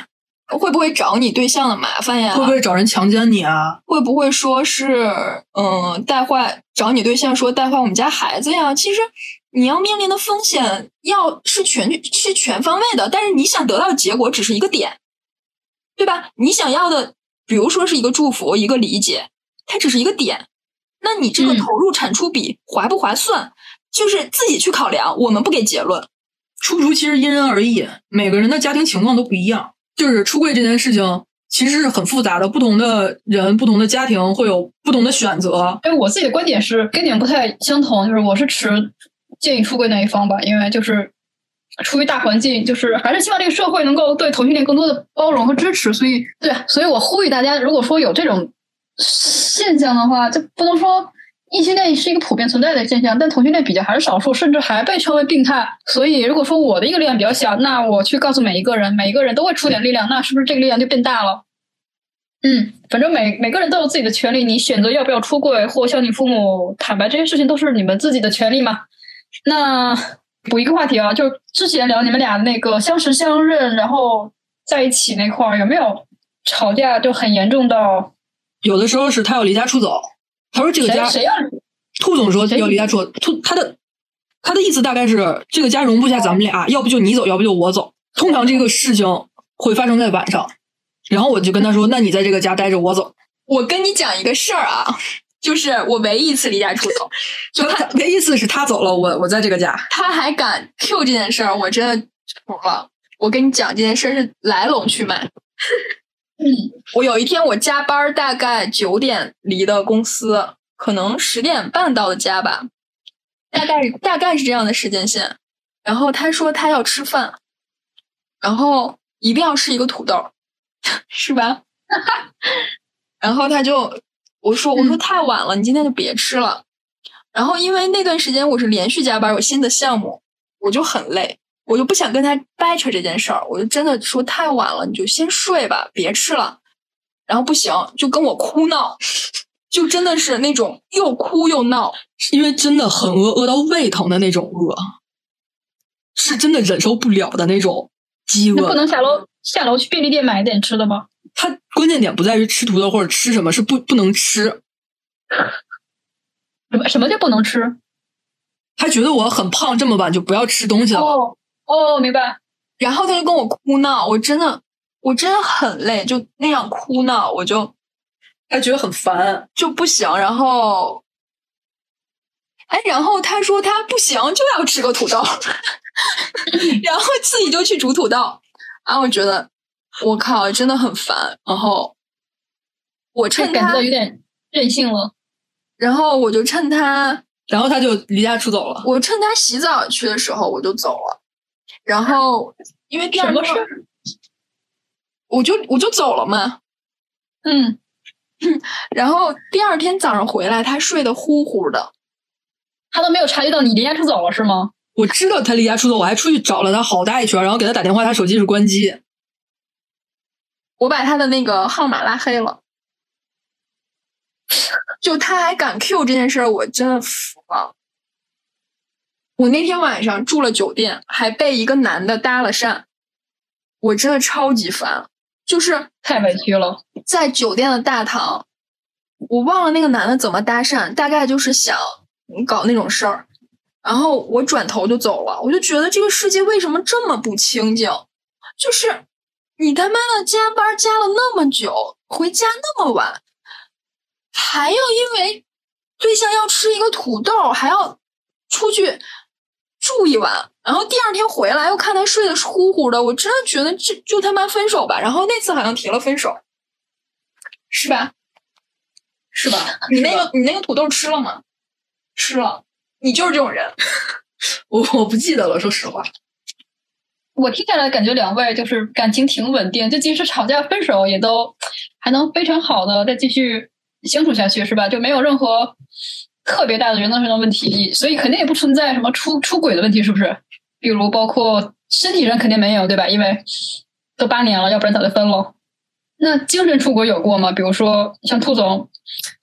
会不会找你对象的麻烦呀？
会不会找人强奸你啊？
会不会说是嗯带坏找你对象说带坏我们家孩子呀？其实你要面临的风险要是全是全方位的，但是你想得到的结果只是一个点，对吧？你想要的，比如说是一个祝福、一个理解，它只是一个点。那你这个
嗯
投入产出比划不划算，就是自己去考量，我们不给结论。
出不出其实因人而异，每个人的家庭情况都不一样。就是出柜这件事情其实是很复杂的，不同的人、不同的家庭会有不同的选择。
因为我自己的观点是跟你们不太相同，就是我是持建议出柜那一方吧，因为就是出于大环境，就是还是希望这个社会能够对同性恋更多的包容和支持，所以对，所以我呼吁大家，如果说有这种现象的话，就不能说。异性恋是一个普遍存在的现象，但同性恋比较还是少数，甚至还被称为病态。所以，如果说我的一个力量比较小，那我去告诉每一个人，每一个人都会出点力量，那是不是这个力量就变大了？嗯，反正每每个人都有自己的权利，你选择要不要出柜或向你父母坦白这些事情，都是你们自己的权利嘛。那补一个话题啊，就是之前聊你们俩那个相识相认，然后在一起那块儿，有没有吵架就很严重到
有的时候是他要离家出走，他说这个
谁
家
谁要
兔总说
谁
要离家出走，兔他的他的意思大概是这个家容不下咱们俩，要不就你走，要不就我走。通常这个事情会发生在晚上，然后我就跟他说：“那你在这个家待着，我走。
我跟你讲一个事儿啊，就是我唯一一次离家出走，”
就他的意思是他走了，我我在这个家。
他还敢 Q 这件事儿，我真的服了。我跟你讲，这件事儿是来龙去脉。 我有一天我加班，大概九点离的公司，可能十点半到的家吧，大概大概是这样的时间线。然后他说他要吃饭，然后一定要吃一个土豆， 是吧？ 然后他就我说我说太晚了，你今天就别吃了。然后因为那段时间我是连续加班，有新的项目，我就很累，我就不想跟他掰扯这件事儿，我就真的说太晚了，你就先睡吧，别吃了。然后不行，就跟我哭闹，就真的是那种又哭又闹，
因为真的很饿，饿到胃疼的那种饿，是真的忍受不了的那种饥
那不
饿。
能下楼下楼去便利店买一点吃的吗？
它关键点不在于吃土豆或者吃什么，是不不能吃。
什么什么叫不能吃？
他觉得我很胖，这么晚就不要吃东西了。
哦哦，明白。
然后他就跟我哭闹，我真的我真的很累，就那样哭闹，我就
他觉得很烦，
就不行。然后，哎，然后他说他不行，就要吃个土豆， 然后自己就去煮土豆。啊，我觉得我靠，真的很烦。然后我
这
趁
感觉
他
到，有点任性了。
然后我就趁他，
然后他就离家出走了。
我趁他洗澡去的时候我就走了。然后因为第
什
二
么
天
事儿？
我就我就走了嘛。
嗯，
然后第二天早上回来，他睡得呼呼的。
他都没有察觉到你离家出走了是吗？
我知道他离家出走，我还出去找了他好大一圈，然后给他打电话，他手机是关机。
我把他的那个号码拉黑了。就他还敢 Q 这件事儿，我真的服了。我那天晚上住了酒店，还被一个男的搭了讪，我真的超级烦。就是
太委屈了。
在酒店的大堂，我忘了那个男的怎么搭讪，大概就是想搞那种事儿，然后我转头就走了。我就觉得这个世界为什么这么不清静？就是你他妈的加班加了那么久，回家那么晚，还要因为对象要吃一个土豆，还要出去住一晚，然后第二天回来又看他睡得呼呼的，我真的觉得这就他妈分手吧。然后那次好像提了分手，是吧？是吧？你那个你那个土豆吃了吗？吃了，你就是这种人。
我我不记得了，说实话。
我听下来感觉两位就是感情挺稳定，就即使吵架分手也都还能非常好的再继续相处下去，是吧？就没有任何特别大的原则上的问题，所以肯定也不存在什么出出轨的问题，是不是？比如包括身体上肯定没有，对吧？因为都八年了，要不然早就分了。那精神出轨有过吗？比如说像兔总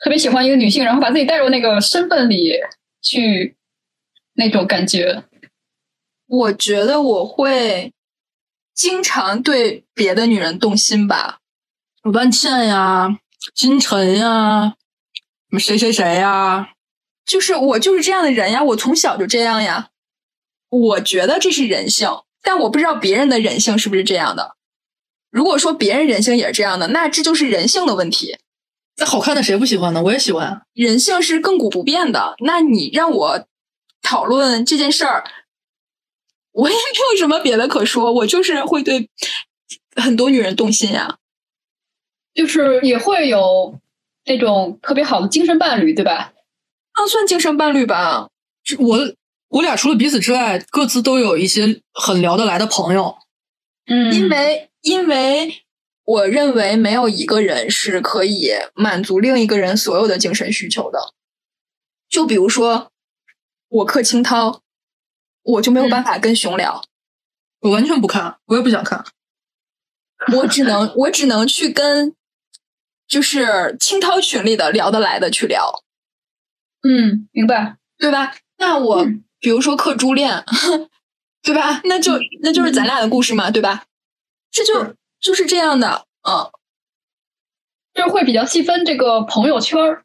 特别喜欢一个女性，然后把自己带入那个身份里去，那种感觉。
我觉得我会经常对别的女人动心吧。
鲁班倩呀，金晨呀，什么谁谁谁呀，
就是我就是这样的人呀，我从小就这样呀。我觉得这是人性，但我不知道别人的人性是不是这样的。如果说别人人性也是这样的，那这就是人性的问题。
那好看的谁不喜欢呢？我也喜欢。
人性是亘古不变的。那你让我讨论这件事儿，我也没有什么别的可说，我就是会对很多女人动心呀。
就是也会有那种特别好的精神伴侣，对吧？
那啊算精神伴侣吧。
这我我俩除了彼此之外，各自都有一些很聊得来的朋友。
嗯
因为因为我认为没有一个人是可以满足另一个人所有的精神需求的。就比如说，我克清涛，我就没有办法跟熊聊，
我完全不看，我也不想看。
我只能我只能去跟就是清涛群里的聊得来的去聊，
嗯，明白。
对吧？那我、比如说克朱恋，对吧？那就那就是咱俩的故事嘛，对吧？这就就是这样的，嗯。
就是会比较细分这个朋友圈儿。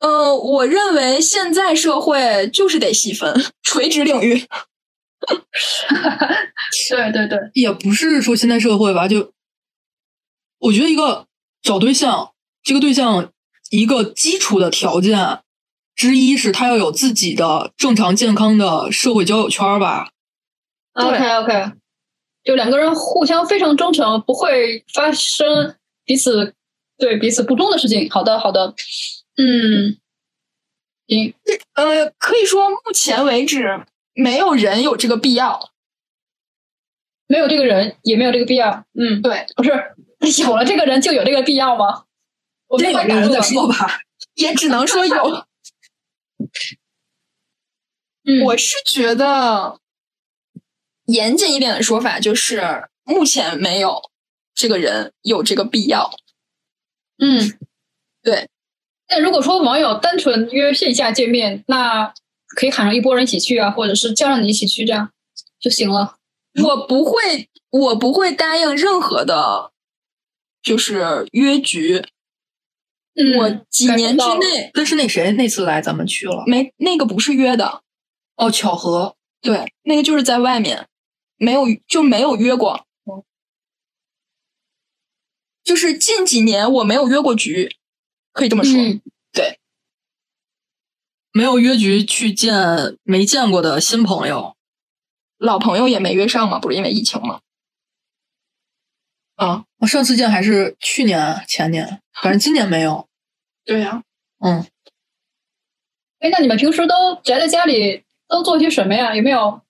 呃，我认为现在社会就是得细分垂直领域。
对对对，
也不是说现在社会吧，就我觉得一个找对象，这个对象一个基础的条件之一是他要有自己的正常健康的社会交友圈儿吧。
OK OK，就两个人互相非常忠诚，不会发生彼此对彼此不忠的事情。好的好的，嗯，行，
呃，可以说目前为止没有人有这个必要。
没有这个人也没有这个必要。嗯，
对，
不是 有了这个人就有这个必要吗？我
这
没
有
法
没有
打
人
住
再
了。
说吧？
也只能说 有。
嗯，
我是觉得严谨一点的说法就是，目前没有这个人有这个必要。
嗯，
对。
那如果说网友单纯约线下见面，那可以喊上一波人一起去啊，或者是叫上你一起去，这样就行了。
我不会，我不会答应任何的，就是约局。
嗯，
我几
感受
年之
到了
内
但是那谁那次来咱们去了，
没那个不是约的，
哦，巧合。
对，那个就是在外面，没有就没有约过。嗯就是近几年我没有约过局，可以这么说。
嗯
没有约局去见没见过的新朋友，
老朋友也没约上嘛，不是因为疫情嘛？啊，
我上次见还是去年前年，反正今年没有。
对啊呀、
嗯，
哎，那你们平时都宅在家里都做些什么呀？有没有？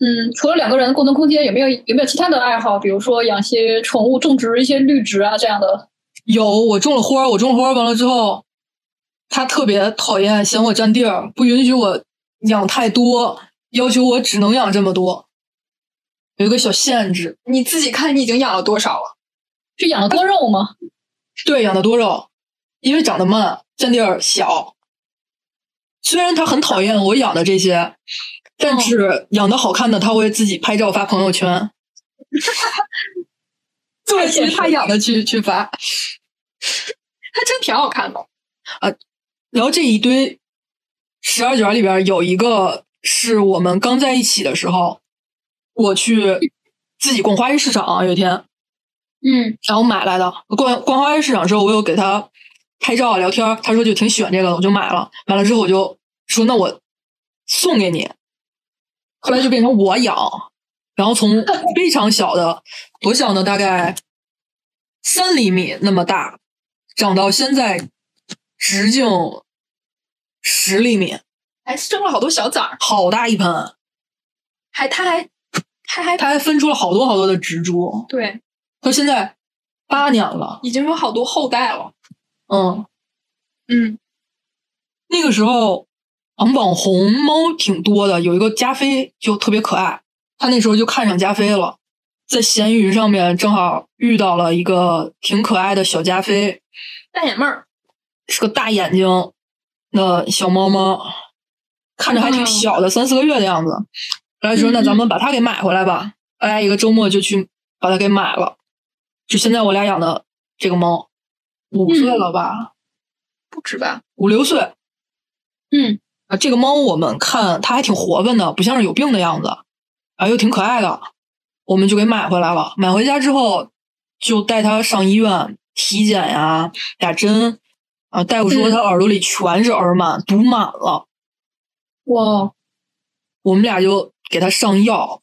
嗯，除了两个人的共同空间，有没有有没有其他的爱好？比如说养些宠物、种植一些绿植啊这样的。
有我种了花儿，我种了花儿完了之后，他特别讨厌，嫌我占地儿，不允许我养太多，要求我只能养这么多，有一个小限制。
你自己看你已经养了多少了？
是养了多肉吗？
对，养的多肉，因为长得慢，占地儿小。虽然他很讨厌我养的这些，
嗯
但是养的好看的他会自己拍照发朋 友圈，
对，
现
其
实
实他
他
养
养的去去发。
他真挺好看的。
然后这一堆十二卷里边有一个是我们刚在一起的时候，我去自己逛花艺市场、啊有一天，
嗯，
然后买来的。逛逛花艺市场之后，我有给他拍照聊天儿，他说就挺喜欢这个的，我就买了。买了之后我就说那我送给你，后来就变成我养，然后从非常小的多小呢，大概三厘米那么大，长到现在直径十厘米，
还生了好多小崽儿，
好大一盆，
还他还他还
它还分出了好多好多的植株，
对，
到现在八年了，
已经有好多后代了。
嗯。
嗯，
那个时候，嗯，网红猫挺多的，有一个加菲就特别可爱，他那时候就看上加菲了，在闲鱼上面正好遇到了一个挺可爱的小加菲，
大眼妹儿，
是个大眼睛的小猫猫，看着还挺小的，三四个月的样子。然后就说：“那咱们把它给买回来吧。”大家一个周末就去把它给买了。就现在我俩养的这个猫，五岁了吧，
不止吧？
五六岁。
嗯，
啊，这个猫我们看它还挺活泛的，不像是有病的样子，啊，又挺可爱的，我们就给买回来了。买回家之后，就带它上医院体检呀、打针。啊，大夫说
嗯
它耳朵里全是耳螨，堵满了。
哇，
我们俩就给它上药，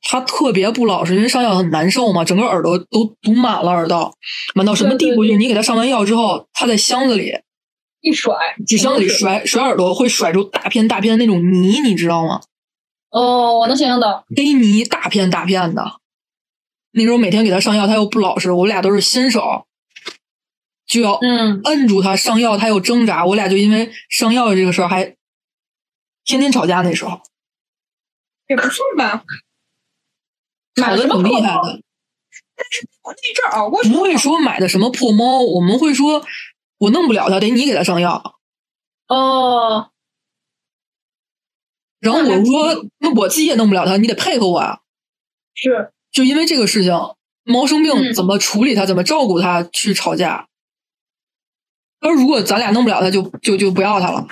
它特别不老实，因为上药很难受嘛，整个耳朵都堵满了耳道，满到什么地
对对
步？
对
就你给它上完药之后，它在箱子里
一甩
纸箱子 里
是
甩甩耳朵，会甩出大片大片的那种泥，你知道吗？
哦，我能想象到，
黑泥大片大片的。那时候每天给它上药，它又不老实，我俩都是新手，就要
嗯，
摁住它上药，它又挣扎，我俩就因为上药这个事儿还天天吵架。那时候
也不是吧？
吵
买了
得
什么
挺厉害
破猫
的，
我那阵儿熬过去
不会说买的什么破猫，我们会说我弄不了它，得你给它上药。
哦，
然后我说那我自己也弄不了它，你得配合我啊。
是，
就因为这个事情，猫生病
嗯
怎么处理它，怎么照顾它，去吵架。他说：“如果咱俩弄不了它，就就就不要它了，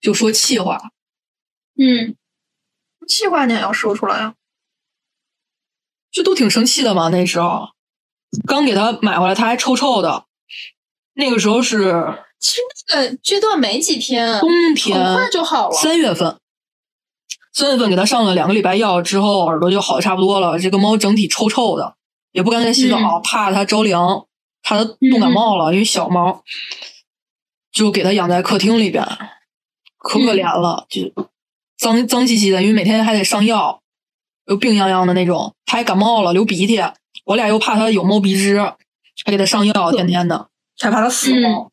就说气话。
嗯，
气话你也要说出来啊！
就都挺生气的嘛。那时候刚给它买回来，它还臭臭的。那个时候是
其实那个阶段没几天，
冬
很
天，
快就好了。
三月份，三月份给它上了两个礼拜药之后，耳朵就好的差不多了。这个猫整体臭臭的，也不敢给它洗澡，怕它着凉，怕它冻感冒了，因为小猫，就给它养在客厅里边，可可怜了，就脏脏兮兮的，因为每天还得上药，又病殃殃的那种。它还感冒了，流鼻涕，我俩又怕它有猫鼻支，还给它上药，天天的，害怕它死了。
嗯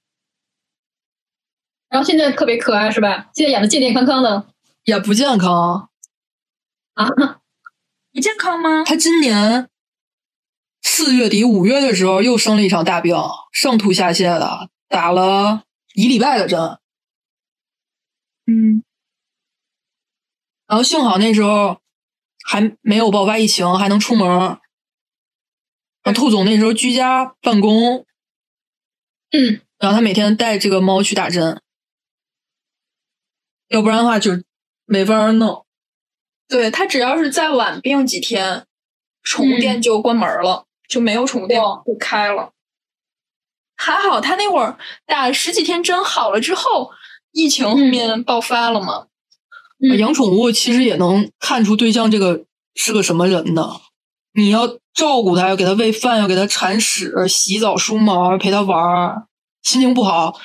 然后现在特别可爱是吧？现在养的健健康康的
也不健康，
啊，
你健康吗？
他今年四月底五月的时候又生了一场大病，上吐下泻的，打了一礼拜的针。
嗯，
然后幸好那时候还没有爆发疫情，还能出门儿。然后兔总那时候居家办公，
嗯，
然后他每天带这个猫去打针，要不然的话就没法儿弄。
对他只要是再晚病几天，宠物店就关门了，就没有宠物店
哇
不开了。还好他那会儿打了十几天针好了之后，疫情后面爆发了嘛。
嗯
养宠物其实也能看出对象这个是个什么人的。你要照顾它，要给它喂饭，要给它铲屎、洗澡、梳毛，陪它玩儿。心情不好，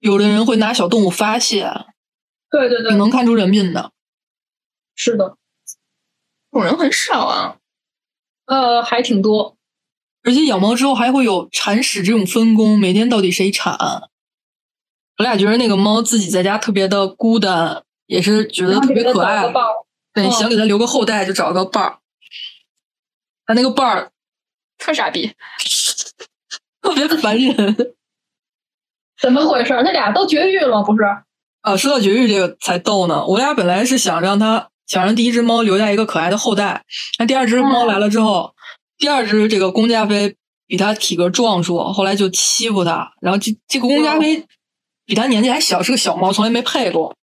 有的人会拿小动物发泄，
对对
挺
对，
能看出人品的。
是的，
这种人很少啊。
呃，还挺多，
而且养猫之后还会有铲屎这种分工，每天到底谁铲？我俩觉得那个猫自己在家特别的孤单，也是觉得
然后
特
就
别
给它
可
找
爱
个。伴儿
对，
嗯
想给它留个后代，就找个伴儿。它那个伴儿
特傻逼，
特别烦人
怎么回事？那俩都绝育了吗？不是？
啊！说到绝育这个才逗呢，我俩本来是想让它想让第一只猫留下一个可爱的后代，那第二只猫来了之后，第二只这个公加菲比它体格壮硕，后来就欺负它，然后这这个公加菲比它年纪还小，是个小猫，从来没配过。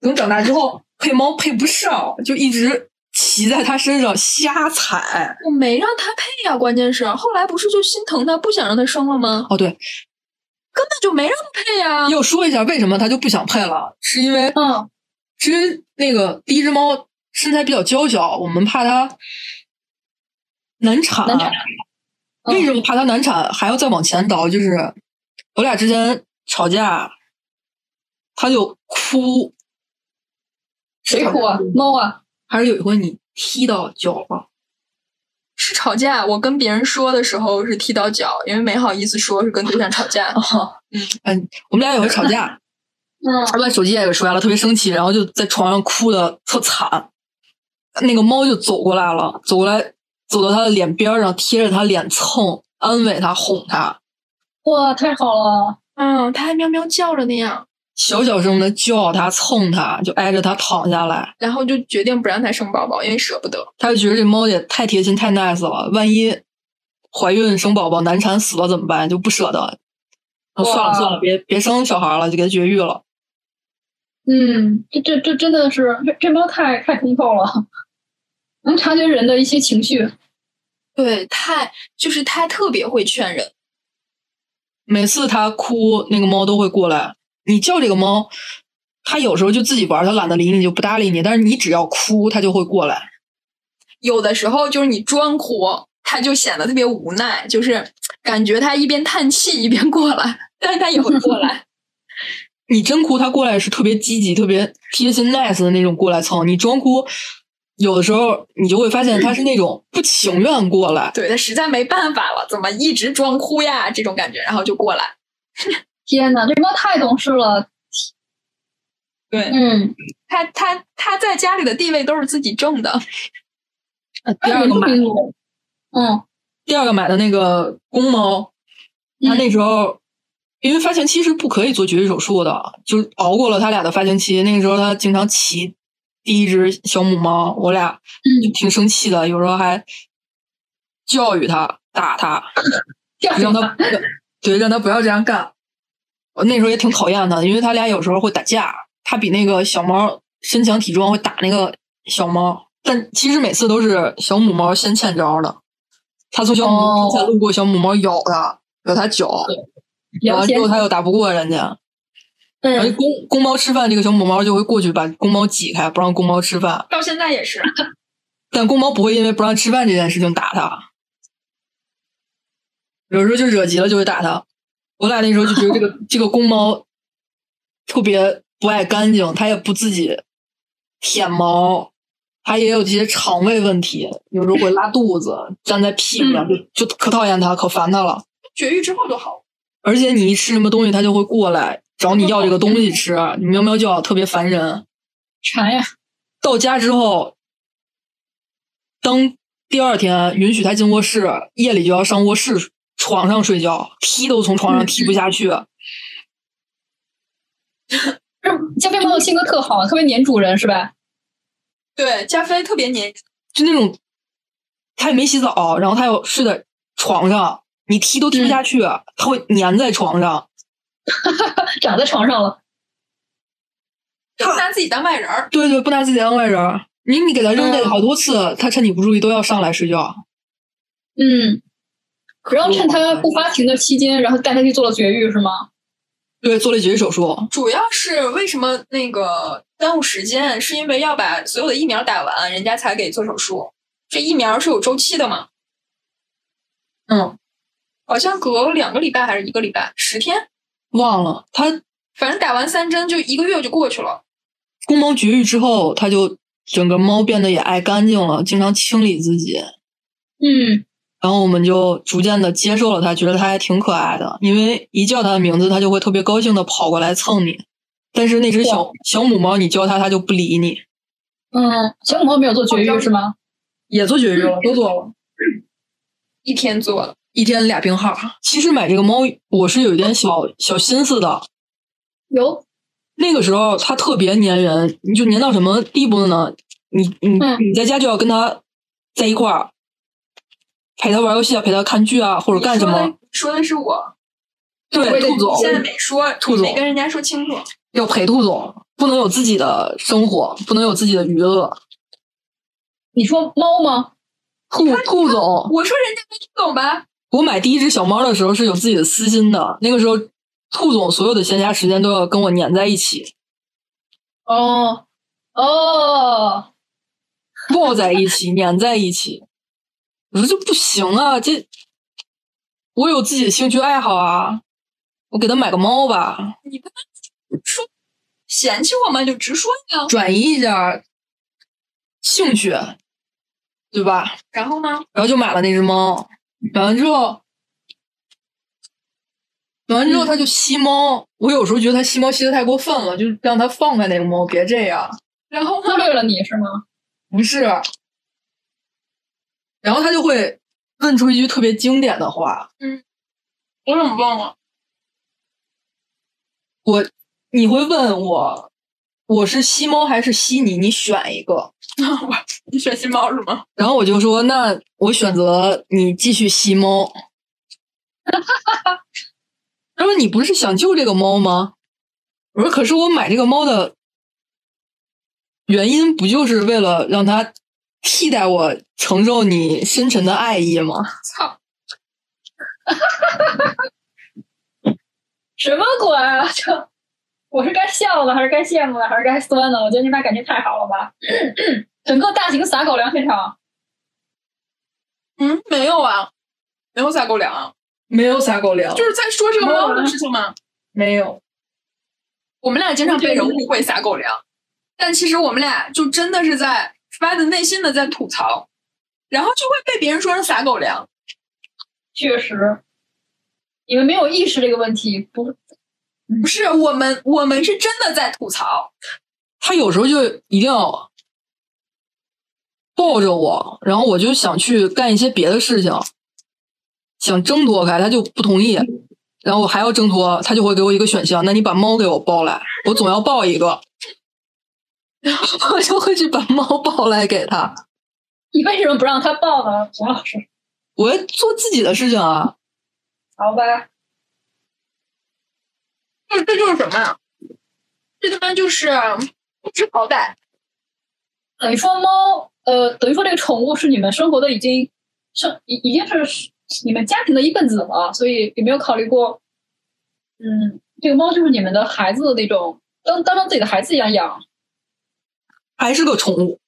等长大之后配猫配不上，就一直骑在它身上瞎踩。
我没让他配呀、关键是后来不是就心疼他，不想让他生了吗？
哦，对，
根本就没让他配呀、
要说一下为什么它就不想配了，是因为
嗯，
其实那个第一只猫身材比较娇小，我们怕它难产。
难产嗯
为什么怕它难产？还要再往前倒，就是我俩之前吵架，它就哭。
谁哭啊？猫啊？
还是有一回你踢到脚了，
是吵架，我跟别人说的时候是踢到脚，因为没好意思说是跟对象吵 架。
嗯，我们俩有回吵架，
嗯
他把手机也给摔了，特别生气，然后就在床上哭的特惨。那个猫就走过来了，走过来走到他的脸边儿上，贴着他脸蹭，安慰他，哄他，
哇，太好了！
嗯，它还喵喵叫着那样，
小小声的叫他，蹭他，就挨着他躺下来。
然后就决定不让它生宝宝，因为舍不得。
他就觉得这猫也太贴心、太 nice 了，万一怀孕生宝宝难产死了怎么办？就不舍得。啊
哇
算了算了，别别生小孩了，就给它绝育了。
嗯，这这这真的是这这猫太太通透了，能察觉人的一些情绪。
对，太就是它特别会劝人。
每次它哭，那个猫都会过来。你叫这个猫，它有时候就自己玩，它懒得理你，就不搭理你。但是你只要哭，它就会过来。
有的时候就是你装哭，它就显得特别无奈，就是感觉它一边叹气一边过来， 但是它也会过来。
你真哭，它过来是特别积极、特别贴心、nice 的那种过来蹭。你装哭，有的时候你就会发现它是那种不情愿过来。
对，它实在没办法了，怎么一直装哭呀？这种感觉，然后就过来。
天哪，这猫太懂事了。
对
嗯，
它它它在家里的地位都是自己挣的。
第二个买
嗯嗯
第二个买的那个公猫，它那时候、因为发情期是不可以做绝育手术的，就是熬过了它俩的发情期。那个时候它经常骑第一只小母猫，我俩就挺生气的，有时候还教育它、打它，
这样
让它不对让它不要这样干。我那时候也挺讨厌它的，因为它俩有时候会打架，它比那个小猫身强体壮，会打那个小猫。但其实每次都是小母猫先欠招的，它从小母猫
哦
才路过，小母猫咬它，咬它脚，咬
了
完
解
之后它又打不过人家。而且
嗯，
公公猫吃饭，这个小母猫就会过去把公猫挤开，不让公猫吃饭。
到现在也是，
但公猫不会因为不让吃饭这件事情打它，有时候就惹急了就会打它。我俩那时候就觉得这个这个公猫特别不爱干净，它也不自己舔毛，它也有这些肠胃问题，有时候会拉肚子，粘在屁股上，就就可讨厌它，可烦它了。
绝育之后就好了。
而且你一吃什么东西，它就会过来找你要这个东西吃，啊你喵喵叫，特别烦人。
馋呀，
到家之后，当第二天允许他进卧室，夜里就要上卧室床上睡觉，踢都从床上踢不下去。
加菲猫的性格特好，特别粘主人是吧？
对，加菲特别粘人，
就那种他也没洗澡，然后他又睡在床上，你踢都踢不下去，他会粘在床上。
长在床上了，
就不拿自己当外人儿。
对对，不拿自己当外人儿。你你给他扔下去好多次，他趁你不注意都要上来睡觉。
嗯，然后趁它
他
不发情的期间，然后带它去做了绝育是吗？
对做了绝育手术，
主要是为什么那个耽误时间，是因为要把所有的疫苗打完，人家才给做手术。这疫苗是有周期的嘛？
嗯，
好像隔两个礼拜还是一个礼拜，十天，
忘了他
反正打完三针就一个月就过去了。
公猫绝育之后，它就整个猫变得也爱干净了，经常清理自己。
嗯，
然后我们就逐渐的接受了它，觉得它还挺可爱的。因为一叫它的名字，它就会特别高兴的跑过来蹭你。但是那只小小母猫，你叫它，它就不理你。
嗯，小母猫没有做绝育是吗？
嗯也做绝育了，都做了，
一天做了，
一天俩病号。啊其实买这个猫，我是有一点小小心思的。
有，
那个时候它特别粘人，你就粘到什么地步呢？你你
嗯
你在家就要跟它在一块儿，陪它玩游戏啊，陪它看剧啊，或者干什
你
么
说？的？说的是我，
对，兔总
你现在没说，
兔总
没跟人家说清楚。
要陪兔总，不能有自己的生活，不能有自己的娱乐。
你说猫吗？
兔兔总，
我说人家没听懂吧？
我买第一只小猫的时候是有自己的私心的，那个时候兔总所有的闲暇时间都要跟我粘在一起，
哦哦，
抱在一起，粘在一起。我说这不行啊，这我有自己的兴趣爱好啊，我给他买个猫吧，
你跟他说嫌弃我吗？就直说呀。
转移一下兴趣，对吧？
然后呢？
然后就买了那只猫，买完之后，买完之后它就吸猫。我有时候觉得它吸猫吸的太过分了，就让它放开那个猫，别这样。
然后
忽
呢？
略了你是吗？
不是。然后他就会问出一句特别经典的话，
我怎么忘了？
我你会问我，我是西猫还是西尼？你选一个。
你选新猫是吗？
然后我就说，那我选择你继续吸猫。 他说：“你不是想救这个猫吗？”我说：“可是我买这个猫的原因，不就是为了让它替代我承受你深沉的爱意吗
操！
什么鬼啊！ 这我是该笑呢，还是该羡慕呢，还是该酸呢？我觉得你俩感情太好了吧！整个大型撒狗粮现场，
嗯，没有啊，没有撒狗粮啊，？”
没有撒狗粮，
就是在说这个猫的事情嘛。
没有。
我们俩经常被人误会撒狗粮，但其实我们俩就真的是在发自内心的在吐槽，然后就会被别人说成撒狗粮。
确实，你们没有意识这个问题，不
不是我们，我们是真的在吐槽。
他有时候就一定要抱着我，然后我就想去干一些别的事情，想挣脱开，他就不同意。然后我还要挣脱，他就会给我一个选项，那你把猫给我抱来，我总要抱一个，我就会去把猫抱来给他。
你为什么不让他抱呢？王老师，
我要做自己的事情啊，
好吧，
这这就是什么呀？这他妈就是不知好歹。
等于说猫，呃，等于说这个宠物是你们生活的已经生已已经是你们家庭的一份子了，所以有没有考虑过，嗯，这个猫就是你们的孩子的那种，当当成自己的孩子一样养，
还是个宠物。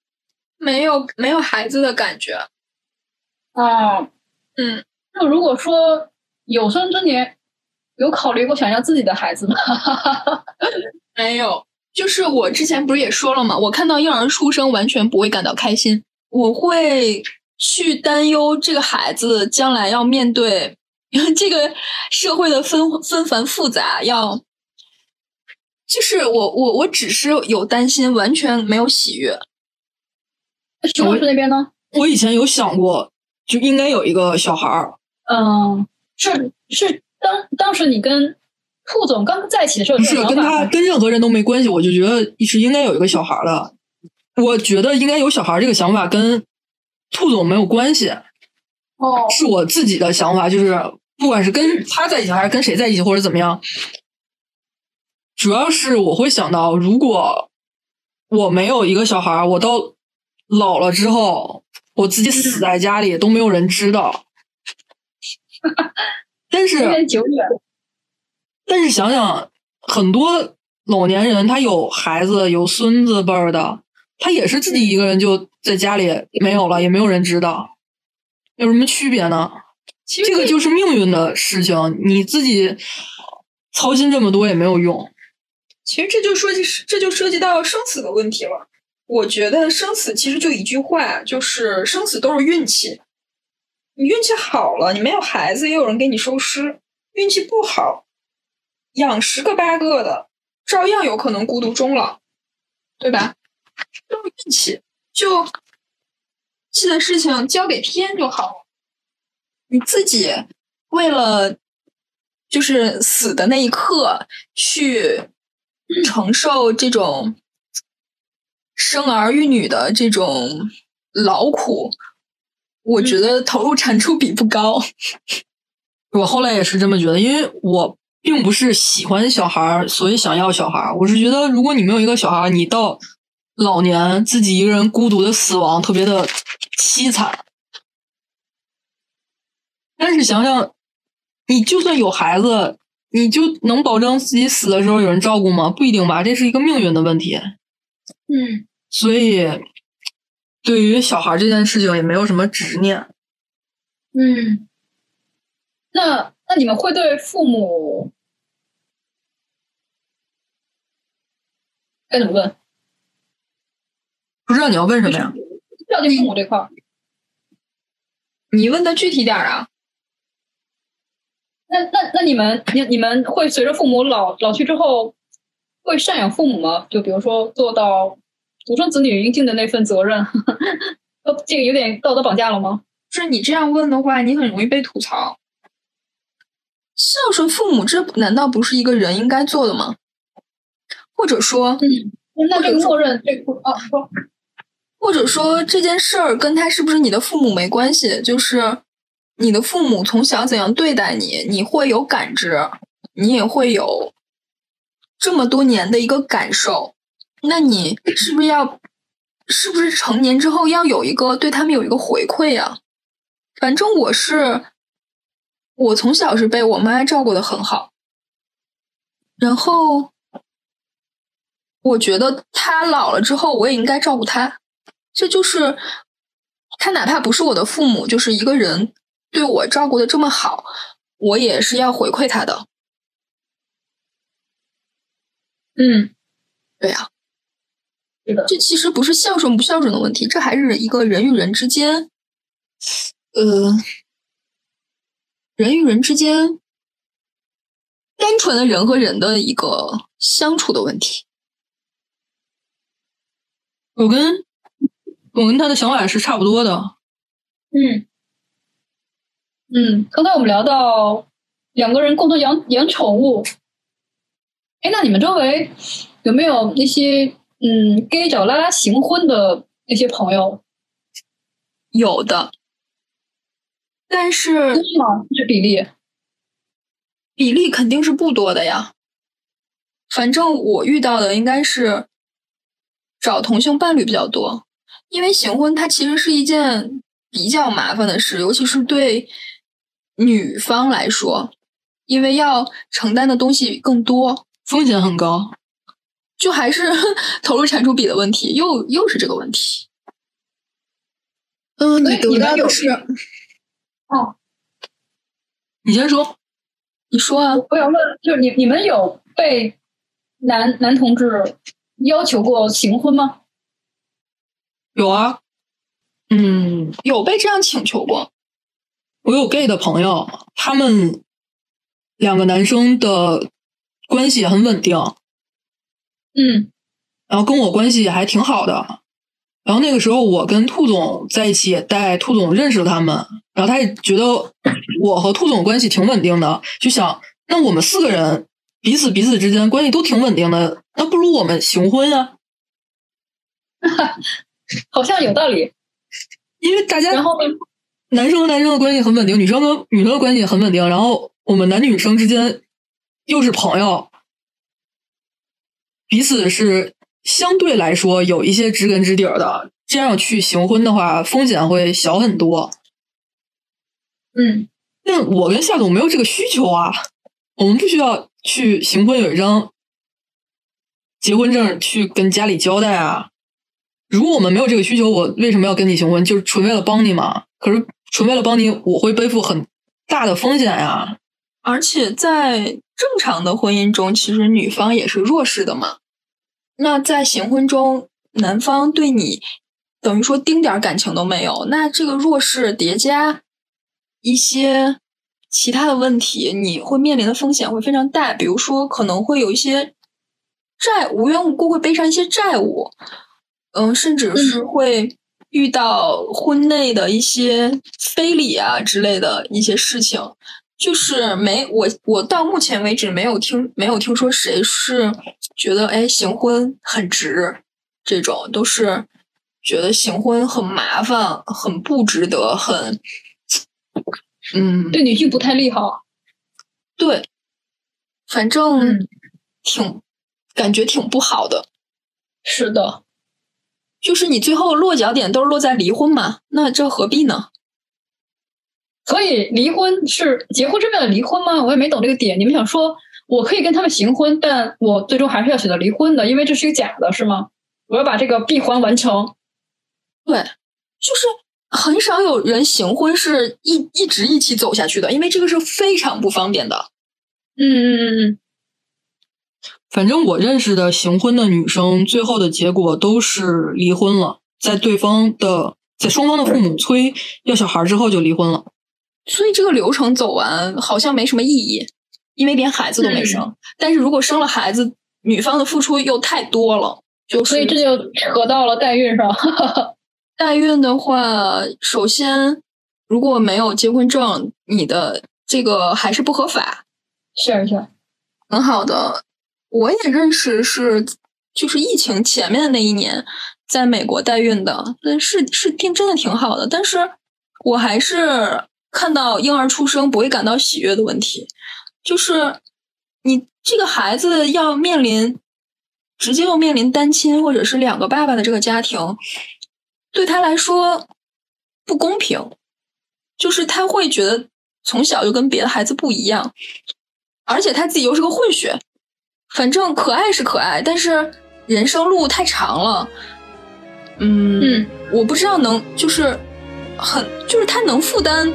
没有没有孩子的感觉。
啊，
嗯，
那如果说有生之年有考虑过想要自己的孩 子吗？
没有，就是我之前不是也说了嘛，我看到婴儿出生完全不会感到开心，我会去担忧这个孩子将来要面对 这个社会的纷纷繁复杂，要就是我我我只是有担心，完全没有喜悦。
徐老师那边呢？
我以前有想过，就应该有一个小孩儿，
嗯，是是当当时你跟兔总刚在一起的时候，
不是
有这
跟
种想
他
法吗
跟任何人都没关系，我就觉得是应该有一个小孩儿的。我觉得应该有小孩儿这个想法跟兔总没有关系，
哦，
是我自己的想法，就是不管是跟他在一起还是跟谁在一起或者怎么样，主要是我会想到，如果我没有一个小孩儿，我到老了之后，我自己死在家里都没有人知道。 但是
有点久远。
但是想想，很多老年人他有孩子、有孙子辈儿的，他也是自己一个人就在家里没有了，也没有人知道，有什么区别呢？
其
这个就是命运的事情，你自己操心这么多也没有用。
其实这就说起，这就涉及到生死的问题了。我觉得生死其实就一句话，就是生死都是运气。你运气好了，你没有孩子，也有人给你收尸；运气不好，养十个八个的，照样有可能孤独终老，对吧？都是运气，就这的事情交给天就好了。你自己为了就是死的那一刻去承受这种生儿育女的这种劳苦，我觉得投入产出比不高。
我后来也是这么觉得，因为我并不是喜欢小孩儿，所以想要小孩儿。我是觉得，如果你没有一个小孩儿，你到老年自己一个人孤独的死亡，特别的凄惨。但是想想，你就算有孩子，你就能保证自己死的时候有人照顾吗？不一定吧，这是一个命运的问题。
嗯，
所以，对于小孩儿这件事情也没有什么执念。
嗯，那那你们会对父母该怎么问？
不知道你要问什么呀？
孝敬父母这块儿，
你问的具体点儿啊？
那那那你们你你们会随着父母老老去之后，会赡养父母吗？就比如说做到独生子女应尽的那份责任。 呃，这个有点道德绑架了吗？
就是你这样问的话，你很容易被吐槽。孝顺父母，这难道不是一个人应该做的吗？或者说，
那这个默认，这个啊，说
或者说这件事儿跟他是不是你的父母没关系，就是你的父母从小怎样对待你，你会有感知，你也会有这么多年的一个感受。那你是不是要，是不是成年之后要有一个对他们有一个回馈呀、反正我是，我从小是被我妈照顾的很好，然后我觉得她老了之后，我也应该照顾她。这就是她哪怕不是我的父母，就是一个人对我照顾的这么好，我也是要回馈她的。
嗯，
对呀、
是的，
这其实不是孝顺不孝顺的问题，这还是一个人与人之间，呃，人与人之间，单纯的人和人的一个相处的问题。
我跟我跟他的想法是差不多的。
嗯，嗯，刚才我们聊到两个人共同养养宠物，哎，那你们周围有没有那些嗯 gay 找拉拉行婚的那些朋友？
有的，但
多
是
吗？这比例？
比例肯定是不多的呀。反正我遇到的应该是找同性伴侣比较多，因为行婚它其实是一件比较麻烦的事，尤其是对女方来说，因为要承担的东西更多，
风险很高，
就还是 投入产出比的问题，又又是这个问题。
嗯，
所以
你得
你们
到
有
的是
你先说。
哦你说啊，
我想问，就是你你们有被男男同志要求过行婚吗？
有啊，嗯，
有被这样请求过？
我有 gay 的朋友，他们两个男生的关系也很稳定，
嗯
然后跟我关系也还挺好的。然后那个时候，我跟兔总在一起，也带兔总认识了他们，然后他也觉得我和兔总关系挺稳定的，就想那我们四个人彼此彼此之间关系都挺稳定的，那不如我们行婚啊，
好像有道理。
因为大家
然后呢？
男生和男生的关系很稳定，女生和女生的关系也很稳定，然后我们男女生之间又是朋友，彼此是相对来说有一些知根知底儿的，这样去行婚的话，风险会小很多。
嗯，
那我跟夏总没有这个需求啊，我们不需要去行婚有一张结婚证去跟家里交代啊。如果我们没有这个需求，我为什么要跟你行婚？就是纯为了帮你嘛。可是纯为了帮你，我会背负很大的风险呀、
而且在正常的婚姻中，其实女方也是弱势的嘛。那在行婚中，男方对你等于说丁点儿感情都没有，那这个弱势叠加一些其他的问题，你会面临的风险会非常大。比如说，可能会有一些债，无缘无故会背上一些债务，嗯，甚至是会遇到婚内的一些非礼啊之类的一些事情。就是没我我到目前为止没有听没有听说谁是觉得哎行婚很值，这种都是觉得行婚很麻烦，很不值得，很嗯
对女性不太利好。
对，反正挺感觉挺不好的。
是的，
就是你最后落脚点都是落在离婚嘛，那这何必呢？
所以离婚是结婚是为了离婚吗？我也没懂这个点。你们想说我可以跟他们行婚，但我最终还是要选择离婚的，因为这是一个假的，是吗？我要把这个闭环完成。
对，就是很少有人行婚是一一直一起走下去的，因为这个是非常不方便的。
嗯嗯嗯
反正我认识的行婚的女生，最后的结果都是离婚了，在对方的在双方的父母催要小孩之后就离婚了。
所以这个流程走完好像没什么意义，
嗯
因为连孩子都没生。但是如果生了孩子，女方的付出又太多了，就是
所以这就扯到了代孕上。
代孕的话，首先如果没有结婚证，你的这个还是不合法。
是啊是，
很好的，我也认识是，就是疫情前面那一年，在美国代孕的，但是是挺真的挺好的，但是我还是看到婴儿出生不会感到喜悦的问题，就是你这个孩子要面临直接要面临单亲或者是两个爸爸的这个家庭，对他来说不公平，就是他会觉得从小就跟别的孩子不一样。而且他自己又是个混血，反正可爱是可爱，但是人生路太长了，嗯，
嗯
我不知道能就是很就是他能负担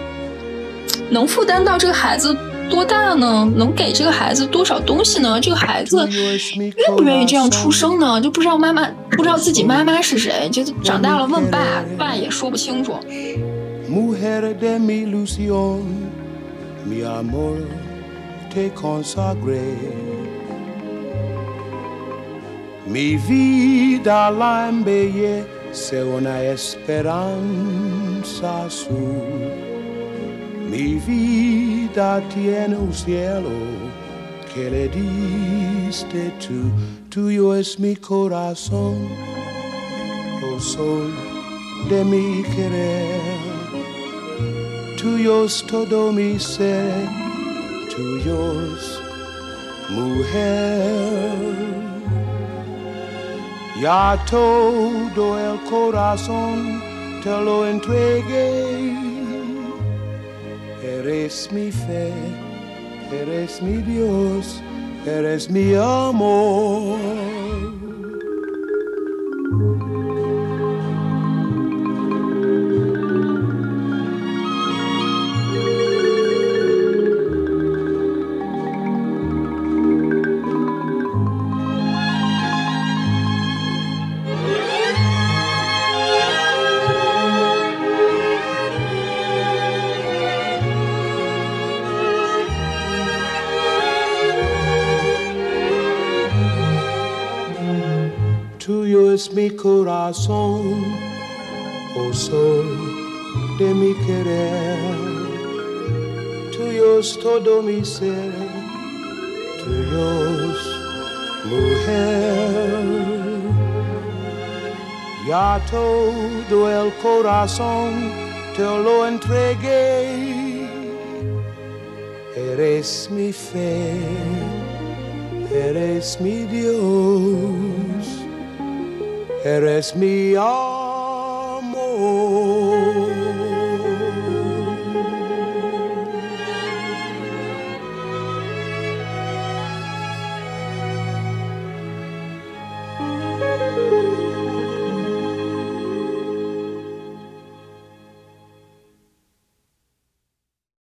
能负担到这个孩子多大呢？能给这个孩子多少东西呢？这个孩子愿不愿意这样出生呢？就不知道妈妈不知道自己妈妈是谁，就是长大了问爸，爸也说不清楚。
Mulher de mi ilusión, mi amor te consagré. Mi vida la embellece una esperanza azul. Mi vida tiene un cielo que le diste tú. Tuyo es mi corazón, oh sol de mi querer. Tuyo es todo mi ser, tuyo es mujer. Ya todo el corazón te lo entregué. Eres mi fe, eres mi Dios, eres mi amor. tuyo es mi corazón, oh sol de mi querer. Tuyo es todo mi ser, tuyo es mujer. Ya todo el corazón te lo entregué. Eres mi fe. Eres mi Dios, eres mi amor.